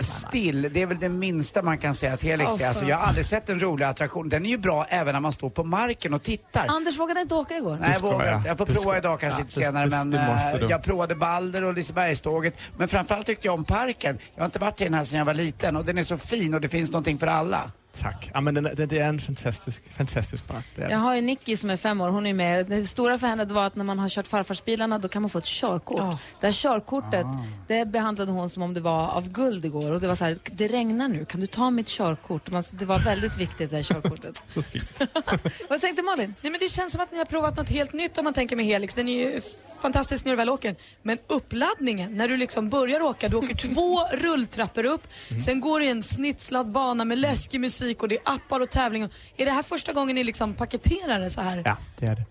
Speaker 3: Still, det är väl det minsta man kan säga att Helix
Speaker 4: Åh,
Speaker 3: är. Alltså,
Speaker 4: fan.
Speaker 3: jag har aldrig sett en rolig attraktion. Den är ju bra även när man står på marken och tittar.
Speaker 4: Anders vågade inte åka igår.
Speaker 3: Nej, jag vågar inte. Jag får
Speaker 8: Du
Speaker 3: prova
Speaker 8: skojar.
Speaker 3: idag kanske
Speaker 8: Ja,
Speaker 3: lite
Speaker 8: det-
Speaker 3: senare.
Speaker 8: det-
Speaker 3: men
Speaker 8: det måste
Speaker 3: eh,
Speaker 8: du.
Speaker 3: jag provade Balder och Lisebergståget. Men framförallt tyckte jag om parken. Jag har inte varit i den här sedan jag var liten och den är så fin och det finns någonting för alla.
Speaker 8: Tack. Ja, men den, den, det är en fantastisk, fantastisk park. Det är
Speaker 4: Jag har ju Nicky som är fem år, hon är med. Det stora för henne var att när man har kört farfarsbilarna då kan man få ett körkort. Det här körkortet, det behandlade hon som om det var av guld igår. Och det var så här, det regnar nu, kan du ta mitt körkort? Man- Det var väldigt viktigt det här körkortet.
Speaker 8: så fint.
Speaker 4: Vad tänkte Malin?
Speaker 7: Nej, men det känns som att ni har provat något helt nytt om man tänker med Helix. Den är ju f- fantastisk när du väl åker den. Men uppladdningen, när du liksom börjar åka, du åker två rulltrappor upp,
Speaker 4: Mhm.
Speaker 7: sen går du i en snitslad bana
Speaker 4: Mm.
Speaker 7: med läskig musik och det är appar och tävlingar. Är det här första gången ni liksom paketerar det så här?
Speaker 8: Ja, det är det.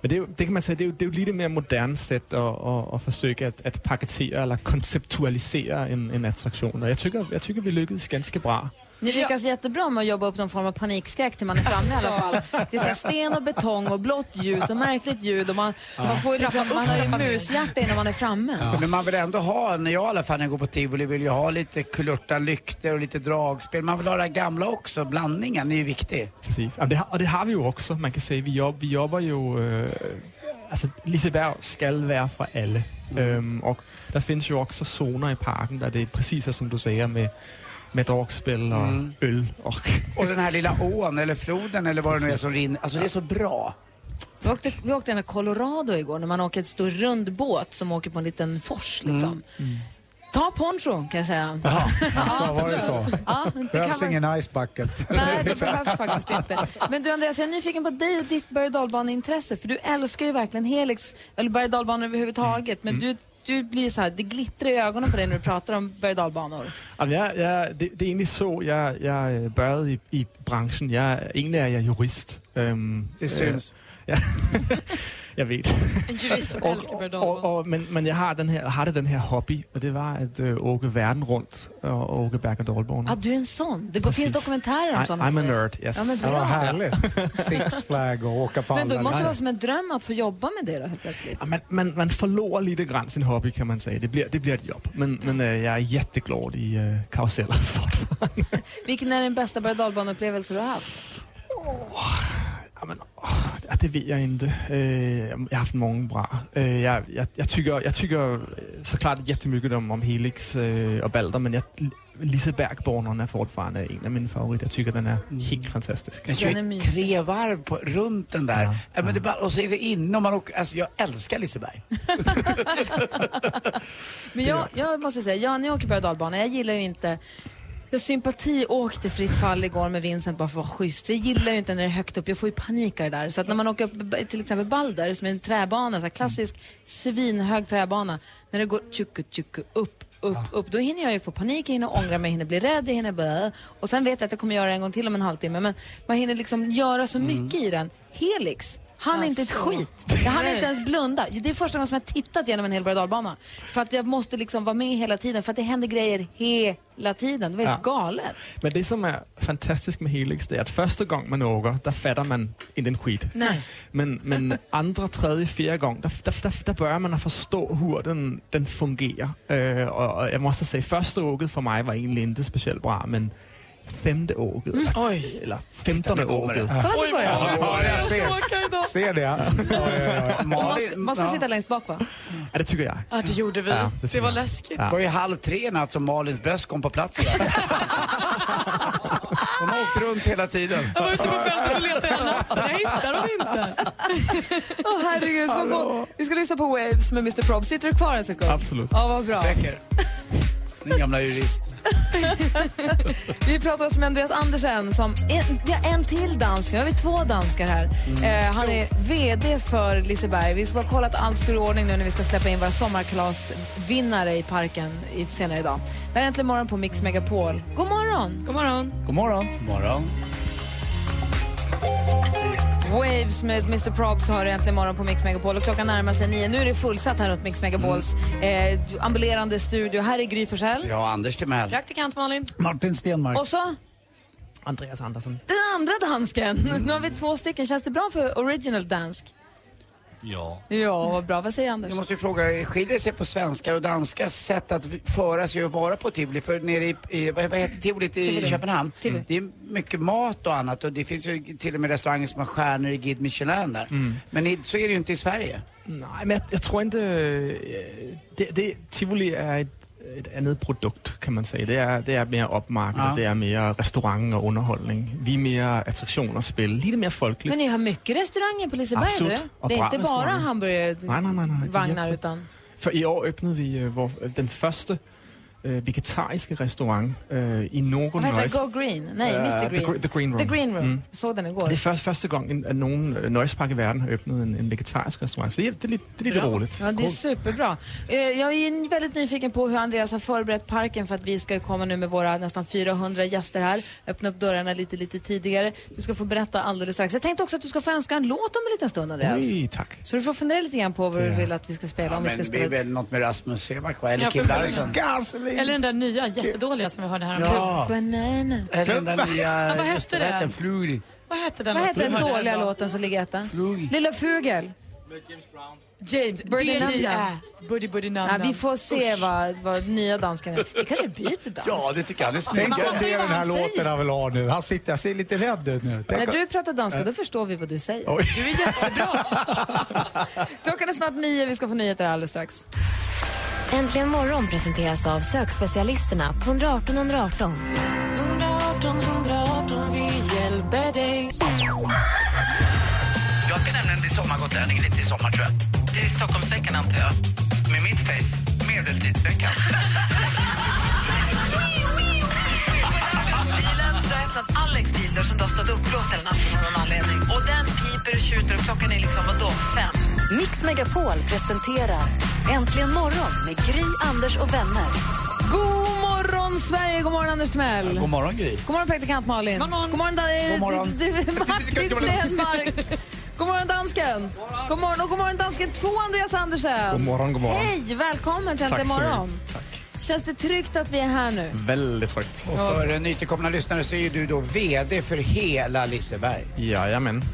Speaker 8: Men det, är, jo- det kan man säga, det är, ju- det är ju lite mer modernt sätt att, att, att försöka att, att paketera eller konceptualisera en, en attraktion. Och jag tycker, jag tycker vi lyckades ganska bra.
Speaker 4: Ni lyckas jättebra med att jobba upp någon form av panikskräck till man är framme i alla fall. Det är så här sten och betong och blått ljus och märkligt ljud och man,
Speaker 3: Ja.
Speaker 4: man, får ju liksom,
Speaker 3: Trappa upp,
Speaker 4: man har ju
Speaker 3: trappa ner.
Speaker 4: mushjärta innan man är framme.
Speaker 3: Men man vill ändå ha, när jag i alla fall när jag går på tivoli, vill jag ha lite kulörta lykter och lite dragspel. Man vill ha det här gamla också. Blandningen är ju viktig.
Speaker 8: Precis. Ja, det, har- och det har vi ju också. Man kan säga, vi, jobb, vi jobbar ju... Äh, alltså, Liseberg ska vara för alla. Ehm, och det finns ju också zoner i parken där det är precis som du säger med, med dragspel och
Speaker 3: Mm.
Speaker 8: öl. Och
Speaker 3: Och den här lilla ån eller floden eller vad det nu är som rinner. Alltså det är så bra.
Speaker 4: Vi åkte, vi åkte den här Colorado igår när man åker ett stor rund båt som åker på en liten fors liksom.
Speaker 6: Mm.
Speaker 4: Ta poncho kan jag säga.
Speaker 6: Jaha, alltså, var det så?
Speaker 4: Ja, det kan
Speaker 6: Behövs
Speaker 4: man-
Speaker 6: ingen ice bucket.
Speaker 4: Nej, det behövs faktiskt inte. Men du Andreas, jag är nyfiken på dig och ditt berg och dalbaneintresse. För du älskar ju verkligen Helix, eller berg och dalbanor överhuvudtaget. Men
Speaker 8: Mm.
Speaker 4: du, du blir så här, det glittrar i ögonen på dig när du pratar om berg och dalbanor.
Speaker 8: Jamen, jeg, jeg, det, det er egentlig så, jeg, jeg øh, børjede i, i branchen. Jeg, egentlig er jeg jurist. Øhm,
Speaker 3: Det syns.
Speaker 8: Øh, ja, jeg ved.
Speaker 7: En jurist som älskar Berdal.
Speaker 8: Og, og, men, men jeg har, den her, har det den her hobby, og det var at øh, åke verden rundt og åke eh, berg- og dalbårene.
Speaker 4: Ja, Ah, du är en sån. Det går, finns
Speaker 8: Precis.
Speaker 4: dokumentärer om
Speaker 8: I-
Speaker 4: sådana
Speaker 8: I'm
Speaker 4: som
Speaker 8: a
Speaker 4: dig.
Speaker 8: nerd, yes.
Speaker 4: Ja, men
Speaker 6: Det var
Speaker 4: bra.
Speaker 6: härligt. Six flag och åka på
Speaker 4: Men då
Speaker 6: alla
Speaker 4: måste det
Speaker 6: läger.
Speaker 4: vara som en dröm att få jobba med det då helt plötsligt.
Speaker 8: Ja, Man, man, man förlorar lite grann sin hobby kan man säga. Det blir, det blir ett jobb. Men, men øh, jag är jätteglad i øh, karuseller.
Speaker 4: Vilken är den bästa berg och dalbaneupplevelsen du har haft?
Speaker 8: Ja, det ved jeg ikke. Øh, jeg har haft mange bra. Øh, jeg, jeg, jeg, tykker, jeg tykker øh, så klart jättemycket om, om Helix øh, og Balder, men jeg, Lisebergborneren er fortfarande en af mine favoritter. Jeg tykker, den er helt fantastisk.
Speaker 3: Den kör ju tre varv på, runt den där. Ja, men det är bara, och så är det inne och man åker, alltså jag älskar Liseberg.
Speaker 4: Men jag, jag måste säga, jag, när jag åker berg och dalbana, jag gillar ju inte jag sympatiåkte Fritt fall igår med Vincent bara för att vara schysst. Jag gillar ju inte när det är högt upp. Jag får ju panik av det där. Så att när man åker upp b- till exempel Balder som är en träbana, så här klassisk svinhög träbana. När det går tjuku tjuku upp, upp, upp. Då hinner jag ju få panik, jag hinner ångra mig, jag hinner bli rädd, jag hinner börja. Och sen vet jag att jag kommer göra det en gång till om en halvtimme. Men man hinner liksom göra så mycket i den. Helix. Han är inte ett
Speaker 2: Alltså.
Speaker 4: skit. Jag hann
Speaker 2: Nej.
Speaker 4: inte ens blunda. Det är första gången som jag har tittat genom en hel berg och dalbana. För att jag måste liksom vara med hela tiden. För att det händer grejer hela tiden. Det var helt
Speaker 8: Ja.
Speaker 4: galet.
Speaker 8: Men det, som er fantastisk med Helix, det er, at første gang man åker, der fatter man ikke en skit.
Speaker 4: Nej.
Speaker 8: Men, men andre, tredje, fjerde gang, der, der, der, der bør man at forstå, hvordan den, den fungerer. Øh, og, og jeg må også sige, første åket for mig var egentlig ikke specielt bra, men femte åket,
Speaker 4: Mm.
Speaker 8: eller, eller femtende åket.
Speaker 4: Kolla, det går
Speaker 6: jag ser, ser det. Ja, ja, ja.
Speaker 4: Man ska, man ska
Speaker 3: ja.
Speaker 4: sitta längst bak va?
Speaker 8: Ja, det tycker jag.
Speaker 7: Ja, det gjorde vi.
Speaker 3: Ja,
Speaker 7: det,
Speaker 3: det
Speaker 7: var läskigt.
Speaker 3: Det var ju halv tre i natt som Malins bröst kom på plats igen. Hon har åkt runt hela tiden.
Speaker 7: Jag var ute på fältet och letade hela natten. Jag hittar dem inte.
Speaker 4: Åh herregud, så på, vi ska lyssna på Waves med Mr Prob. Sitter du kvar en sekund?
Speaker 3: Absolut.
Speaker 4: Ja, vad bra.
Speaker 3: Säker. Min gamla jurist.
Speaker 4: vi pratar också med Andreas Andersen som en, vi har en till dansk. Nu har vi två danskar här.
Speaker 17: Mm.
Speaker 4: Eh, han är VD för Liseberg. Vi ska bara kolla att allt står i ordning nu när vi ska släppa in våra sommarkalasvinnare i parken i, senare idag. Det här är Äntligen morgon på Mix Megapol. God morgon!
Speaker 7: God morgon!
Speaker 6: God morgon.
Speaker 3: morgon.
Speaker 4: Waves med Mr Probs har du äntligen morgon på Mix Megapol och klockan närmar sig nio. Nu är det fullsatt här runt Mix Megapols eh, ambulerande studio. Här är Gry Forssell.
Speaker 3: Ja, Anders Timell.
Speaker 4: Praktikant Malin.
Speaker 6: Martin Stenmark.
Speaker 4: Och så
Speaker 8: Andreas Andersson.
Speaker 4: den andra dansken. Nu har vi två stycken. Känns det bra för original dansk?
Speaker 14: Ja.
Speaker 4: Ja, vad bra. Vad säger Anders?
Speaker 3: Jag måste ju fråga, skiljer det sig på svenskar och danskars sätt att föra sig och vara på tivoli? För nere i, i vad vad heter tivolit i
Speaker 4: Tivoli.
Speaker 3: Köpenhamn,
Speaker 4: Tivoli.
Speaker 3: det är mycket mat och annat och det finns ju till och med restauranger som har stjärnor i Guide Michelin där. Men i, så är det ju inte i Sverige.
Speaker 8: Nej, men jag, jag tror inte... øh, Det, det, Tivoli er et, et andet produkt, kan man sige. Det er, det er mere opmarked,
Speaker 4: Ja.
Speaker 8: ja. det er mere restaurant og underholdning. Vi er mere attraktion og spil. Lidt mere folkeligt.
Speaker 4: Men ni har mycket restauranger på Liseberg
Speaker 8: Absolut.
Speaker 4: du.
Speaker 8: Och
Speaker 4: Det är
Speaker 8: bra
Speaker 4: inte bara
Speaker 8: restauranger. Nej, nej, nej, nej. Det är
Speaker 4: hamburgervagnar
Speaker 8: jätte-
Speaker 4: utan...
Speaker 8: For i år åbnede vi øh, vor, øh, den første øh, vegetariske restaurant øh, i Nogo
Speaker 4: Vad heter det?
Speaker 8: Noise.
Speaker 4: Go Green? Nej,
Speaker 8: Eh,
Speaker 4: Mr
Speaker 8: the, Gre-
Speaker 4: Green.
Speaker 8: the Green Room.
Speaker 4: The Green Room.
Speaker 8: Mm.
Speaker 4: Såg den igår.
Speaker 8: Det er først, første gang, en- at nogen øh, noisepark i verden har åbnet en, en vegetarisk restaurant. Så det, er- det er lidt, det er lidt roligt.
Speaker 4: Ja, det är superbra. Eh, Jag är väldigt nyfiken på hur Andreas har förberett parken för att vi ska komma nu med våra nästan 400 gäster här. Öppna upp dörrarna lite, lite tidigare. Du ska få berätta alldeles strax. Jag tänkte också att du ska få önska en låt om en liten stund, Andreas.
Speaker 8: Oj, tack.
Speaker 4: Så du får fundera lite grann på vad du vill att vi ska spela.
Speaker 3: Ja,
Speaker 4: om vi
Speaker 3: men
Speaker 4: ska
Speaker 3: det blir
Speaker 4: spela.
Speaker 3: väl något med Rasmus Sebastian eller
Speaker 4: Ja,
Speaker 3: Kim
Speaker 4: förmodligen.
Speaker 3: Larsen.
Speaker 7: Eller den där nya jättedåliga som vi hörde här om
Speaker 3: Ja.
Speaker 4: Banana.
Speaker 3: Eller den där nya...
Speaker 7: Ja, vad
Speaker 3: just det,
Speaker 7: hette
Speaker 3: vad heter
Speaker 7: den?
Speaker 3: Flugel.
Speaker 7: Vad hette den
Speaker 4: Vad
Speaker 7: låten
Speaker 4: heter
Speaker 7: vi
Speaker 4: den
Speaker 7: hörde
Speaker 4: dåliga
Speaker 7: häromdagen?
Speaker 4: låten som ligger etta? Lilla Fugel.
Speaker 7: James,
Speaker 4: Birdie
Speaker 7: DJA.
Speaker 4: Nanda.
Speaker 7: Buddy Buddy
Speaker 4: Ja,
Speaker 7: Nanda.
Speaker 4: vi får se vad, vad nya dansken är. Vi kanske byter dans.
Speaker 3: Ja, det tycker jag. Det är
Speaker 6: Tänk
Speaker 4: Man
Speaker 6: att
Speaker 4: fattar
Speaker 6: det
Speaker 4: ju
Speaker 6: är
Speaker 4: vad
Speaker 6: den här
Speaker 4: han säger.
Speaker 6: låten han vill ha nu. Han sitter, jag ser lite rädd ut nu. Tänk
Speaker 4: När
Speaker 6: att-
Speaker 4: du pratar danska,
Speaker 6: Ja.
Speaker 4: då förstår vi vad du säger.
Speaker 6: Oj.
Speaker 4: Du är jättebra. Klockan är snart nio, vi ska få nyheter alldeles strax.
Speaker 13: Äntligen morgon presenteras av sökspecialisterna på 118 118.
Speaker 17: 118 118, vi hjälper dig.
Speaker 18: Jag ska nämligen bli sommargotlänning lite i sommar, tror jag. Det är Stockholmsveckan, antar jag. Med mitt face, medeltidsveckan.
Speaker 4: Bilen, du har öppnat Alex bildörr som du har stått uppblåst hela natten av någon anledning. Och den piper och tjuter och klockan är liksom, vadå, fem?
Speaker 1: Mix Megapol presenterar Äntligen morgon med Gry, Anders och vänner.
Speaker 4: God morgon, Sverige! God morgon, Anders Timell!
Speaker 3: God morgon, Gry.
Speaker 4: God morgon, praktikant Malin. God morgon, God morgon, Dan- eh,
Speaker 3: God morgon.
Speaker 4: d- d- Martin Stenmark. God morgon, dansken. God morgon, och god morgon, dansken 2, Andreas Andersen.
Speaker 8: God morgon, god morgon.
Speaker 4: Hej, välkommen till
Speaker 8: Tack
Speaker 4: Äntligen
Speaker 8: så mycket. Mm,
Speaker 4: morgon. Känns det tryggt att vi är här nu?
Speaker 8: Väldigt tryggt.
Speaker 3: Och för eh, nytillkomna lyssnare så är ju du då VD för hela Liseberg.
Speaker 8: Jajamän.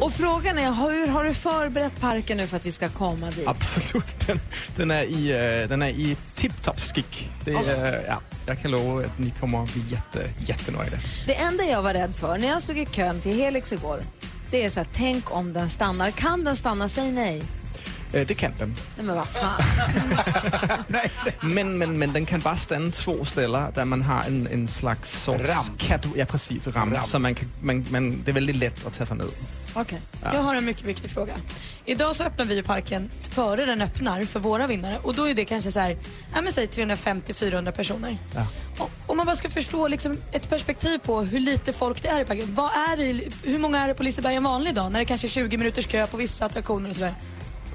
Speaker 4: Och frågan är, hur har du förberett parken nu för att vi ska komma dit?
Speaker 8: Absolut. Den, den er i, øh, den er i tip-top skik. Det, øh, ja, jeg kan love, at ni kommer at blive jätte, jättenøjde.
Speaker 4: Det enda jag var rädd för när jag stod i kön till Helix igår, det är så här, tänk om den stannar. Kan den stanna? Säg nej.
Speaker 8: Øh, det kan den.
Speaker 4: Nej men vad fan.
Speaker 8: Men, men, men den kan bare stande to steder, da man har en, en slags sorts...
Speaker 7: Ram.
Speaker 8: Katu, ja, præcis. Ram.
Speaker 7: Ram.
Speaker 8: Så man kan, man, man, det er veldig let at tage sig ned.
Speaker 4: Okay.
Speaker 8: Ja.
Speaker 7: Jag har en mycket viktig fråga. Idag så öppnar vi ju parken före den öppnar för våra vinnare och då är det kanske så här, ja, men säg 350-400 personer.
Speaker 8: Ja.
Speaker 7: Om man bara ska förstå liksom ett perspektiv på hur lite folk det är i parken. Vad är det, i- hur många är det på Liseberg en vanlig dag när det kanske är 20 minuters kö på vissa attraktioner og sådär?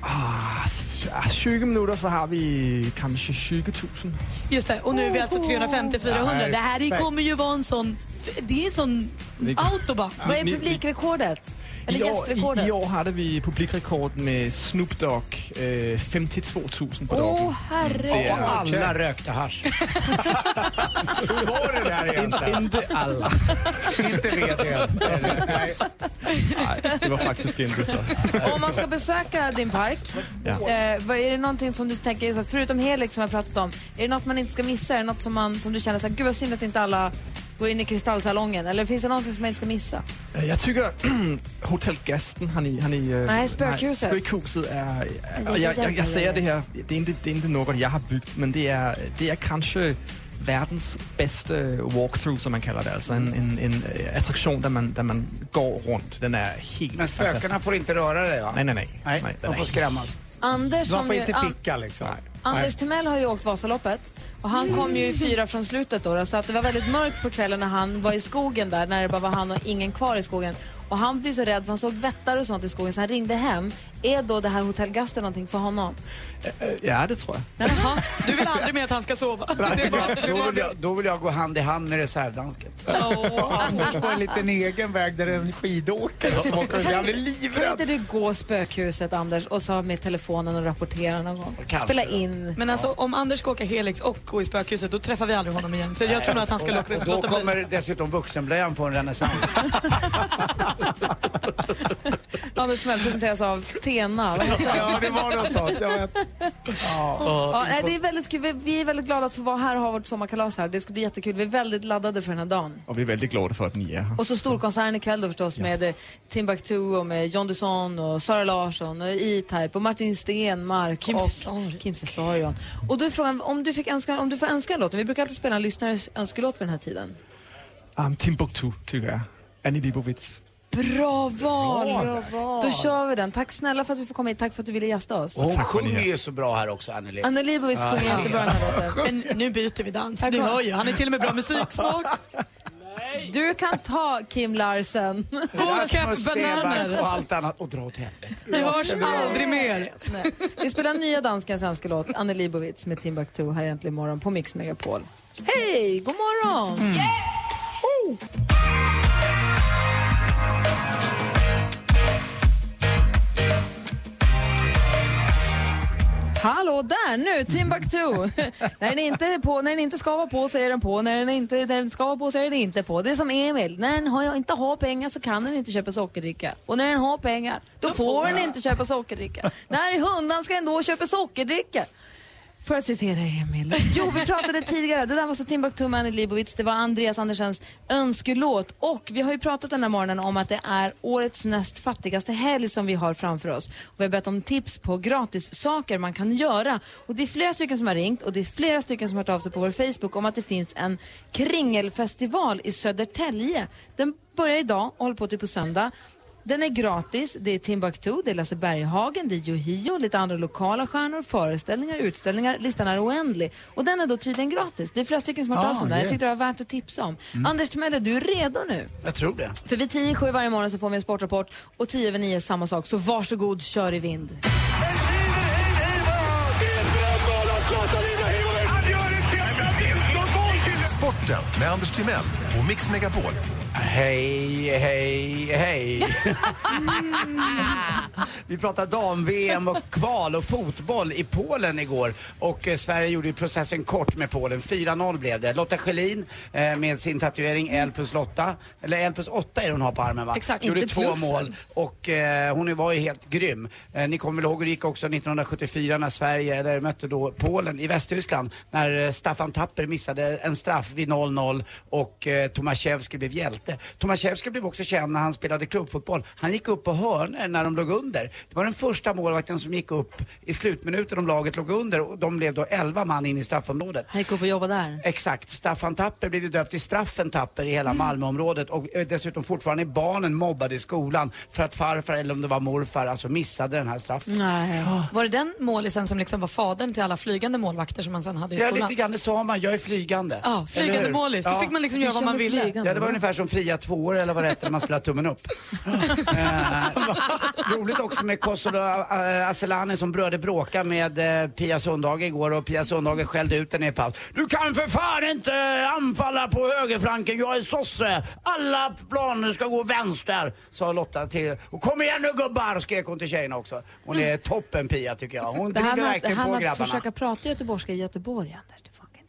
Speaker 8: Ah, s- ah, 20 minutter, så har vi kanskje 20.000.
Speaker 7: Just det, och nu är vi alltså 350-400. Det här är- kommer ju vara en sån, det är en sån autobahn.
Speaker 4: Vad är publikrekordet? Eller
Speaker 8: I år, i,
Speaker 4: gästrekordet?
Speaker 8: I år hade vi publikrekorden med Snoop Dogg, eh, 52.000 på
Speaker 4: Åh,
Speaker 8: dagen.
Speaker 4: herregud.
Speaker 8: det är-
Speaker 4: Och alla
Speaker 3: rökte hasch.
Speaker 8: Hur var det där egentligen? Inte alla.
Speaker 3: inte VD.
Speaker 8: Nej, det var faktiskt inte så.
Speaker 4: Om man ska besöka din park,
Speaker 8: Ja.
Speaker 4: eh, vad är det någonting som du tänker, så här, förutom Helix som jag pratat om, är det något man inte ska missa? Är det något som, man, som du känner så här, gud vad synd att inte alla går in i kristallsalongen? Eller finns det någonting som man inte ska missa?
Speaker 8: Eh, Jag tycker Hotel Gasten har ni... Har ni eh,
Speaker 4: Nej, spökhuset.
Speaker 8: Nej, spökhuset är... eh,
Speaker 4: Aj,
Speaker 8: Och
Speaker 4: aj,
Speaker 8: jag,
Speaker 4: aj,
Speaker 8: jag,
Speaker 4: aj,
Speaker 8: jag säger det
Speaker 4: aj.
Speaker 8: här, det är inte, det är inte något jag har byggt, men det är, det är kanske verdens bedste walkthrough, som man kalder det. Altså en, en, en øh, attraktion, der man, der man går rundt. Den er helt
Speaker 3: Men spökena
Speaker 8: fantastisk.
Speaker 3: får inte röra dig va?
Speaker 8: Nej, nej, nej. nej, den
Speaker 3: De
Speaker 8: er
Speaker 3: får
Speaker 8: helt-
Speaker 3: skrämmas.
Speaker 4: Anders,
Speaker 3: De
Speaker 4: som
Speaker 3: får
Speaker 4: ju-
Speaker 3: inte
Speaker 4: An-
Speaker 3: picka liksom.
Speaker 4: Anders Timell har ju åkt Vasaloppet och han kom ju i fyra från slutet då, då så att det var väldigt mörkt på kvällen när han var i skogen där när det bara var han och ingen kvar i skogen. Och han blev så rädd för han såg vättar och sånt i skogen så han ringde hem. Är då det här Hotell Gaster någonting för honom?
Speaker 8: Øh, Ja, det tror jeg.
Speaker 7: Du vill aldrig mer att han ska sova.
Speaker 3: Då vill, jag, då vill jag gå hand i hand med reservdansken.
Speaker 6: Anders får en liten egen väg där det är en skidåkare som åker. Jag blir
Speaker 4: Kan
Speaker 6: livrädd.
Speaker 4: inte du gå spökhuset Anders och så med telefonen och rapportera någon gång? Spela in.
Speaker 7: Men alltså om Anders ska åka Helix och gå i spökhuset då träffar vi aldrig honom igen. Så jag tror nog att han ska
Speaker 3: Och-
Speaker 7: låta
Speaker 3: och Då
Speaker 7: låta bli.
Speaker 3: kommer dessutom vuxenblöjan få en renässans.
Speaker 4: Anders Timell presenteras av Tena. Vad heter han?
Speaker 6: Ja, det var något sånt. Jag vet.
Speaker 4: Ja, nej, det är väldigt kul. Vi- Vi är väldigt glada att få vara här och ha vårt sommarkalas här. Det ska bli jättekul. Vi är väldigt laddade för den här dagen.
Speaker 8: Og vi er veldig glade for, at den er her.
Speaker 4: Och så storkonserten ikväll då förstås med eh, Timbuktu och med John Dusson och Sara Larsson och E-Type och Martin Stenmark Kim och Kim Cesarion. Och då är frågan, om du, fick önska, om du får önska en låt, vi brukar alltid spela en lyssnares önskelåt vid den här tiden.
Speaker 8: Um, Timbuktu, tycker jag. Annie Leibovitz.
Speaker 4: Bra val!
Speaker 3: Bra val.
Speaker 4: Då kör vi den. Tack snälla för att vi får komma hit, tack för att du ville gästa oss.
Speaker 3: Och hon sjunger ju så bra här också, Anneli.
Speaker 4: Anna Leibovitz
Speaker 3: Ja,
Speaker 4: sjunger jättebra den här låten.
Speaker 7: Men nu byter vi dans. Du hör ju, han är till och med bra musiksmak.
Speaker 4: Du kan ta Kim Larsen.
Speaker 3: Rasmus Seeback och allt annat. Och dra åt helvete.
Speaker 7: Vi hörs aldrig mer.
Speaker 4: Vi spelar nya danskens önskelåt, Anne Leibovitz med Timbuktu här äntligen imorgon på Mix Megapol. Hej, god morgon! Oh! Hallå där, nu Timbuktu! när, den inte är på, när den inte ska vara på så är den på, när den, inte, när den ska vara på så är den inte på. Det är som Emil, när den har, inte har pengar så kan den inte köpa sockerdricka. Och när den har pengar, då får den inte köpa sockerdricka. när hundan ska ändå köpa sockerdricka. För att citera Emil. Jo, vi pratade tidigare. Det där var så Timbuktu med Annie Leibovitz. Det var Andreas Andersens önskelåt. Och vi har ju pratat den här morgonen om att det är årets näst fattigaste helg som vi har framför oss. Och vi har bett om tips på gratis saker man kan göra. Och det är flera stycken som har ringt och det är flera stycken som har hört av sig på vår Facebook om att det finns en kringelfestival i Södertälje. Den börjar idag och håller på till på söndag. Den är gratis. Det är Timbuktu, det är Lasse Berghagen, det är Yohio, lite andra lokala stjärnor, föreställningar, utställningar. Listan är oändlig. Och den är då tydligen gratis. Det är flera stycken som har hört
Speaker 3: Ah,
Speaker 4: av sig om det här. Jag
Speaker 3: det.
Speaker 4: tyckte det var värt att tipsa om.
Speaker 3: Mm.
Speaker 4: Anders Timell, är du redo nu?
Speaker 3: Jag tror det.
Speaker 4: För vid 10 i sju varje morgon så får vi en sportrapport och 10 över 9 samma sak. Så varsågod, kör i vind.
Speaker 19: Sporten med Anders Timell och Mix Megapol.
Speaker 3: Hej, hej, hej. Vi pratade dam-VM och kval och fotboll i Polen igår. Och eh, Sverige gjorde ju processen kort med Polen. 4-0 blev det. Lotta Schelin eh, med sin tatuering L plus Lotta, eller L plus 8 är det hon har på armen va?
Speaker 7: Exakt.
Speaker 3: Gjorde
Speaker 7: Inte
Speaker 3: två
Speaker 7: plussen.
Speaker 3: mål. Och eh, hon var ju helt grym. Eh, ni kommer väl ihåg hur det gick också 1974 när Sverige, eller mötte då Polen i Västtyskland. När eh, Staffan Tapper missade en straff vid 0-0 och eh, Tomaszewski blev hjälte. Tomaszewski blev också känd när han spelade klubbfotboll. Han gick upp på hörner när de låg under. Det var den första målvakten som gick upp i slutminuten om laget låg under och de blev då 11 man in i straffområdet.
Speaker 4: Han gick upp och jobbade där.
Speaker 3: Exakt. Staffan Tapper blev ju döpt till Straffen Tapper i
Speaker 7: Mm.
Speaker 3: hela Malmöområdet och eh, dessutom fortfarande är barnen mobbade i skolan för att farfar, eller om det var morfar, alltså missade den här straffen.
Speaker 7: Mm.
Speaker 4: Nej.
Speaker 7: Var det den målisen som liksom var fadern till alla flygande målvakter som man sen hade i
Speaker 3: Ja,
Speaker 7: skolan?
Speaker 3: lite grann. Det sa man. Jag är flygande.
Speaker 7: Ja, flygande
Speaker 3: Eller hur?
Speaker 7: målis. Då fick man liksom
Speaker 3: Vi
Speaker 7: göra vad
Speaker 3: kör
Speaker 7: man
Speaker 3: med
Speaker 7: ville.
Speaker 3: flygande. Ja, det var ungefär som fria tvåor eller vad det hette när man spelade tummen upp. Eh, roligt också med Kosolo eh, Asellani som bröder bråka med eh, Pia Sundhage igår och Pia Sundhage skällde ut henne i paus. Du kan för fan inte anfalla på högerflanken, jag är sosse. Alla planer ska gå vänster, sa Lotta till. Och kom igen nu gubbar, skrek hon till tjejerna också. Hon är toppen Pia tycker jag. Hon
Speaker 4: Det här
Speaker 3: driver
Speaker 4: med att, det
Speaker 3: verkligen
Speaker 4: här
Speaker 3: på
Speaker 4: med
Speaker 3: grabbarna.
Speaker 4: att försöka prata göteborgska i Göteborg, Anders.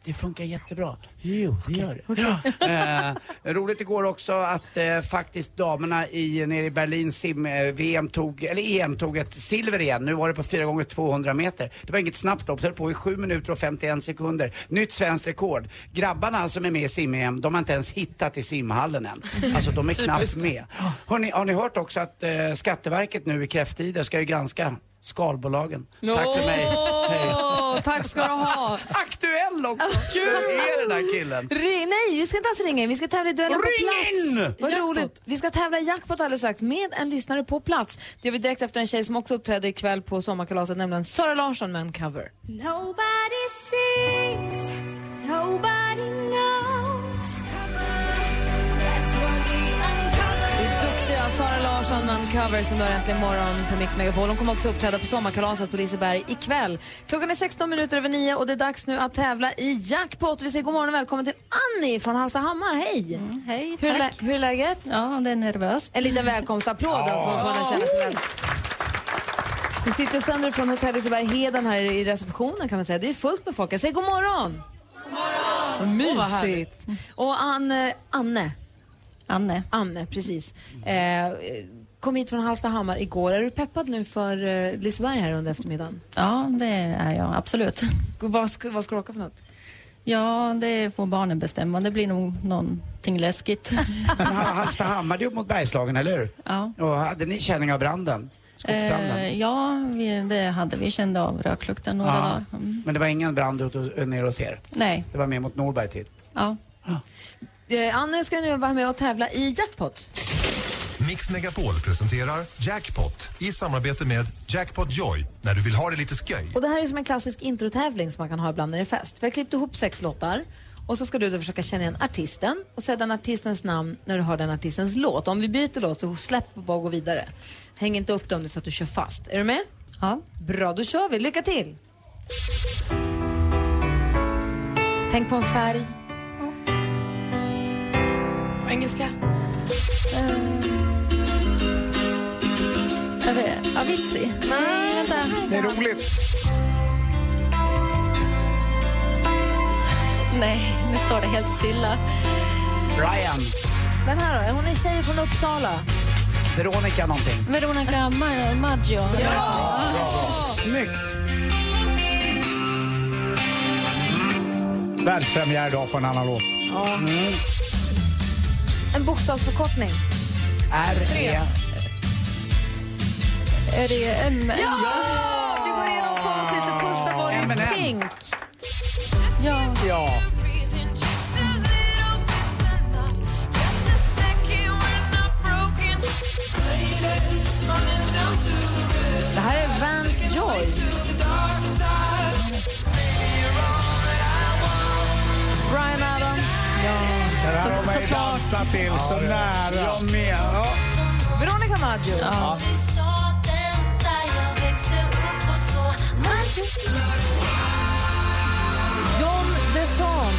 Speaker 3: Det funkar jättebra. Jo, det gör det. Eh, roligt igår också att eh, faktiskt damerna i, nere i Berlin sim, eh, VM tog, eller EM tog ett silver igen. Nu var det på 4 gånger 200 meter. Det var inget snabbt lopp, det höll på i 7 minuter och 51 sekunder. Nytt svenskt rekord. Grabbarna som är med i sim-EM, de har inte ens hittat i simhallen än. Alltså de är knappt med. Har ni, har ni hört också att eh, Skatteverket nu i kräfttider ska ju granska skalbolagen? Tack för mig. Hej.
Speaker 4: Wow, tack ska du ha.
Speaker 3: Aktuell också.
Speaker 4: Kul.
Speaker 3: Vem är den här killen?
Speaker 4: Ring, nej, vi ska inte alls ringa in. Vi ska tävla i duellen på
Speaker 3: Ring
Speaker 4: plats.
Speaker 3: in!
Speaker 4: Vad
Speaker 3: Jackpot.
Speaker 4: roligt. Vi ska tävla i jackpot alldeles strax med en lyssnare på plats. Det gör vi direkt efter en tjej som också uppträder ikväll på sommarkalaset, nämligen Sara Larsson med en cover.
Speaker 17: Nobody sees, nobody knows. That's what we uncover.
Speaker 4: Det är duktiga Sara Larsson med en cover som du har äntligen morgon på Mix Megapol. Hon kommer också uppträda på sommarkalaset på Liseberg ikväll. Klockan är 16 minuter över 9 och det är dags nu att tävla i jackpot. Vi säger god morgon och välkommen till Annie från Hallstahammar. Mm, Hej!
Speaker 20: Hej,
Speaker 4: Hur, är lä-
Speaker 20: tack.
Speaker 4: hur är läget?
Speaker 20: Ja, det är nervöst.
Speaker 4: En liten välkomstapplåd då, för att få den känna sig väl. Vi sitter och sänder från hotell Liseberg Heden här i receptionen kan man säga. Det är fullt med folk. Jag säger god morgon! God morgon!
Speaker 20: Åh, vad
Speaker 4: Vad mysigt!
Speaker 20: härligt.
Speaker 4: och Anne, Anne.
Speaker 20: Anne.
Speaker 4: Anne, precis. Eh, eh, kom hit från Hallstahammar igår. Är du peppad nu för eh, Liseberg här under eftermiddagen?
Speaker 20: Ja, det är jag absolut.
Speaker 4: Vad ska, vad ska du åka för något?
Speaker 20: Ja, det får barnen bestämma. Det blir nog någonting läskigt.
Speaker 3: Men Hall- Hallstahammar, det är upp mot Bergslagen, eller hur?
Speaker 20: Ja.
Speaker 3: Och hade ni känning av branden? Skogsbranden?
Speaker 20: Eh, ja, vi, det hade vi. kände av röklukten några dagar. Mm.
Speaker 3: Men det var ingen brand ut och, nere hos er?
Speaker 20: Nej.
Speaker 3: Det var mer mot Norberg till?
Speaker 20: Ja.
Speaker 4: Eh, Anne ska nu vara med och tävla i jackpot.
Speaker 19: Mix Megapol presenterar Jackpot i samarbete med Jackpot Joy när du vill ha det lite skoj.
Speaker 4: Och det här är som en klassisk introtävling som man kan ha ibland när det är fest. Vi har klippt ihop sex låtar och så ska du då försöka känna igen artisten och säga den artistens namn när du hör den artistens låt. Om vi byter låt så släpp och bara gå vidare. Häng inte upp dem så att du kör fast. Är du med?
Speaker 20: Ja.
Speaker 4: Bra, då kör vi. Lycka till! Tänk på en färg.
Speaker 7: På engelska.
Speaker 20: Eh, Jag vet- Avicii? Nej, vänta.
Speaker 6: Det är roligt.
Speaker 20: Nej, nu står det helt stilla.
Speaker 3: Brian,
Speaker 4: Den här då? Hon är tjej från Uppsala.
Speaker 3: Veronica någonting.
Speaker 20: Veronica Ma- Maggio.
Speaker 3: Snyggt!
Speaker 6: Världspremiär idag på en annan låt.
Speaker 4: Ja. En bokstavsförkortning.
Speaker 3: R, E.
Speaker 20: Är det M?
Speaker 4: Ja! Vi går igenom facit. Det första var ju
Speaker 20: M&M.
Speaker 4: Pink.
Speaker 20: Ja.
Speaker 6: ja.
Speaker 4: Det här är Vance Joy. Brian Adams.
Speaker 6: Det här har man ju
Speaker 4: såklart.
Speaker 6: dansat till så nära.
Speaker 3: Jag med. Ja.
Speaker 4: Veronica Maggio.
Speaker 6: Ja.
Speaker 4: John Desson.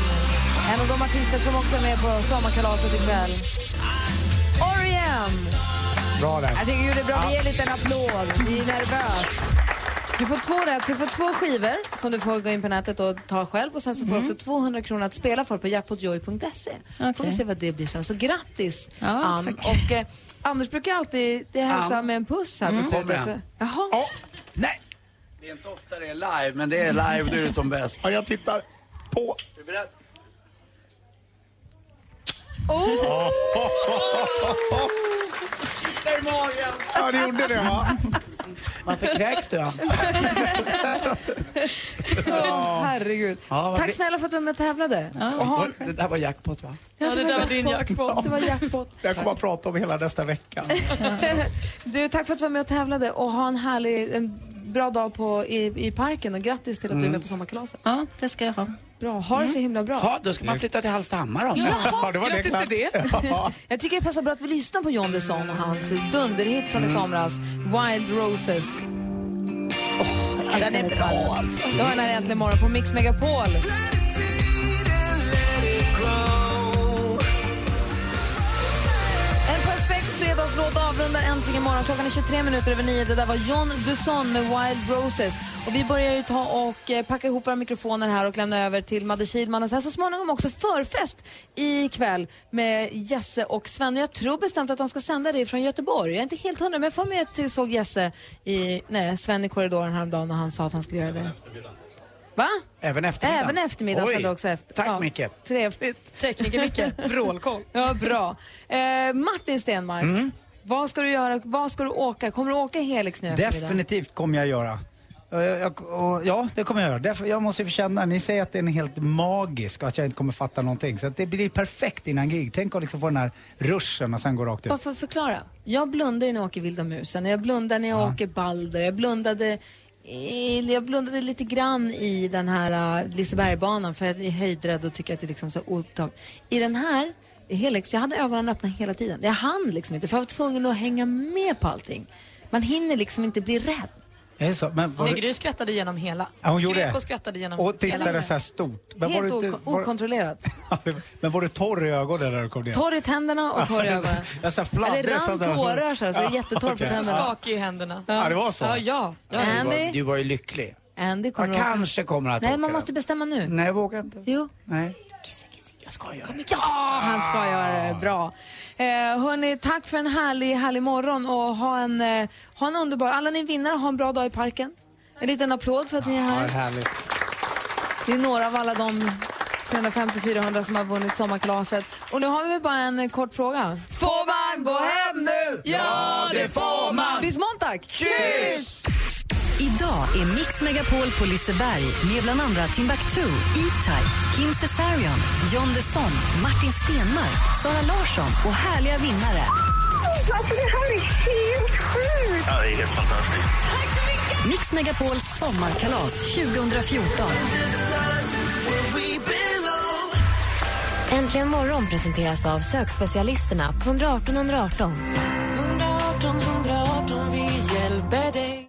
Speaker 4: En av de artister som också är med på sommarkalaset ikväll. E R.E.M.
Speaker 6: Bra där.
Speaker 4: Jag tycker du gjorde bra. Vi ger en liten applåd. Vi är nervösa. Du får två rätt, så du får två skivor som du får gå in på nätet och ta själv. Och Sen så får
Speaker 20: Mm.
Speaker 4: du också 200 kronor att spela för på jackpotjoy.se. får vi se vad det blir sen. Så grattis,
Speaker 20: Ja,
Speaker 4: Ann.
Speaker 20: tack.
Speaker 4: Och eh, Anders brukar ju alltid det hälsa
Speaker 3: Ann.
Speaker 4: med en puss här
Speaker 3: Mm.
Speaker 4: på
Speaker 3: Kommer
Speaker 4: slutet.
Speaker 3: en.
Speaker 4: Så- Jaha.
Speaker 3: Nej! Det är inte ofta det är live, men det är live du är det som bäst. Ja, jag tittar på. Är du beredd?
Speaker 4: Oh!
Speaker 3: Kittlar i magen!
Speaker 6: Ja, det gjorde det va?
Speaker 3: Varför kräks du? Ann?
Speaker 4: Åh, Herregud.
Speaker 3: Ja, vad
Speaker 4: Tack
Speaker 3: blir-
Speaker 4: snälla för att du var med och tävlade.
Speaker 3: Det var- Det där var jackpot, va?
Speaker 4: Ja, det där var din
Speaker 6: jackpot.
Speaker 4: Det var jackpot.
Speaker 6: Jag kommer att prata om hela nästa vecka.
Speaker 4: Du, tack för att du var med och tävlade och ha en härlig, en bra dag på, i, i parken och grattis till att
Speaker 3: Mm.
Speaker 4: du är med på sommarkalaset.
Speaker 20: Ja, det ska jag ha.
Speaker 4: Bra, Mm. ha det så himla bra.
Speaker 3: Ja, då ska man flytta till Hallstahammar då.
Speaker 4: Jaha,
Speaker 6: det var det klart.
Speaker 4: Jag tycker det passar bra att vi lyssnar på John Desson och hans dunderhit från i somras, Wild Roses. Oh, jag älskar den är bra alltså. Det var den här äntligen morgon på Mix Megapol. En perfekt fredagslåt avrundar äntligen morgon. Klockan är 23 minuter över 9. Det där var John Dusson med Wild Roses. Och vi börjar ju ta och eh, packa ihop våra mikrofoner här och lämna över till Madde Kihlman. Och sen så småningom också förfest ikväll med Jesse och Sven. Jag tror bestämt att de ska sända det från Göteborg. Jag är inte helt hundra, men jag får mig att jag såg Jesse i, nej, Sven i korridoren häromdagen och han sa att han skulle göra det. Va?
Speaker 3: Även eftermiddagen?
Speaker 4: Även eftermiddagen
Speaker 3: Oj.
Speaker 4: sänder också efter.
Speaker 3: Tack
Speaker 4: Ja.
Speaker 3: Micke.
Speaker 4: Trevligt. Tekniker Micke, vrålkoll. Ja, bra. Eh, Martin Stenmark,
Speaker 6: Mm.
Speaker 4: vad ska du göra? Vad ska du åka? Kommer du åka Helix nu i eftermiddag?
Speaker 21: Definitivt kommer jag göra.
Speaker 6: Och jag- jag- och ja, det kommer jag göra. Därför, jag måste ju få känna, ni säger att den är helt magisk och att jag inte kommer fatta någonting. Så att det blir perfekt innan gig. Tänk att liksom få den här ruschen och sen gå rakt ut.
Speaker 4: Bara för att förklara. Jag blundar ju när jag åker Vilda musen, jag blundar när jag åker Balder, jag blundade, i, jag blundade lite grann i den här uh, Lisebergbanan för jag är höjdrädd och tycker att det är liksom så otagt. I den här, i Helix, jag hade ögonen öppna hela tiden. Jag hann liksom inte för jag var tvungen att hänga med på allting. Man hinner liksom inte bli rädd.
Speaker 6: Är det så? Men var,
Speaker 7: Nej, Gry skrattade genom hela.
Speaker 6: Ja, hon gjorde
Speaker 7: Skrek
Speaker 6: det.
Speaker 7: och skrattade genom
Speaker 6: och
Speaker 7: hela.
Speaker 6: tittade så här stort. Men var,
Speaker 4: Helt
Speaker 6: du inte,
Speaker 4: oko-
Speaker 6: var,
Speaker 4: okontrollerat.
Speaker 6: men var du torr i ögonen när du kom ner?
Speaker 4: Torr i tänderna och torr i ögonen.
Speaker 6: jag sa fladdrar.
Speaker 4: Eller rann tårar så här, så jag är jättetorr på
Speaker 6: okej.
Speaker 4: tänderna.
Speaker 7: Skakig i händerna.
Speaker 6: Ja, det var så.
Speaker 7: Ja, ja. ja.
Speaker 3: Du
Speaker 4: Andy?
Speaker 3: var, du var ju lycklig.
Speaker 4: Andy kommer
Speaker 3: Jag
Speaker 4: att åka.
Speaker 3: kanske kommer att
Speaker 4: Nej,
Speaker 3: åka Mm.
Speaker 4: man
Speaker 3: den.
Speaker 4: måste bestämma nu.
Speaker 3: Nej, jag vågar inte.
Speaker 4: Jo.
Speaker 3: Nej.
Speaker 4: Ja, han ska göra det. Bra. Eh, hörni, tack för en härlig, härlig morgon och ha en, eh, ha en underbar... Alla ni vinnare, ha en bra dag i parken. En liten applåd för att ni är
Speaker 6: Ja, det är
Speaker 4: här.
Speaker 6: härligt.
Speaker 4: Det är några av alla de 350-400 som har vunnit sommarkalaset. Och nu har vi bara en eh, kort fråga. Får man gå hem nu?
Speaker 17: Ja, det får man.
Speaker 4: Bis Montag!
Speaker 17: Kyss!
Speaker 1: Idag är Mix Megapol på Liseberg med bland andra Timbuktu, E-Type, Kim Cesarion, John Desson, Martin Stenmarck, Sara Larsson och härliga vinnare.
Speaker 17: Alltså det här är helt sjukt!
Speaker 14: Ja, det är helt fantastiskt.
Speaker 1: Mix Megapols sommarkalas 2014.
Speaker 13: Äntligen morgon presenteras av sökspecialisterna på 118 118.
Speaker 17: 118 118 vi hjälper dig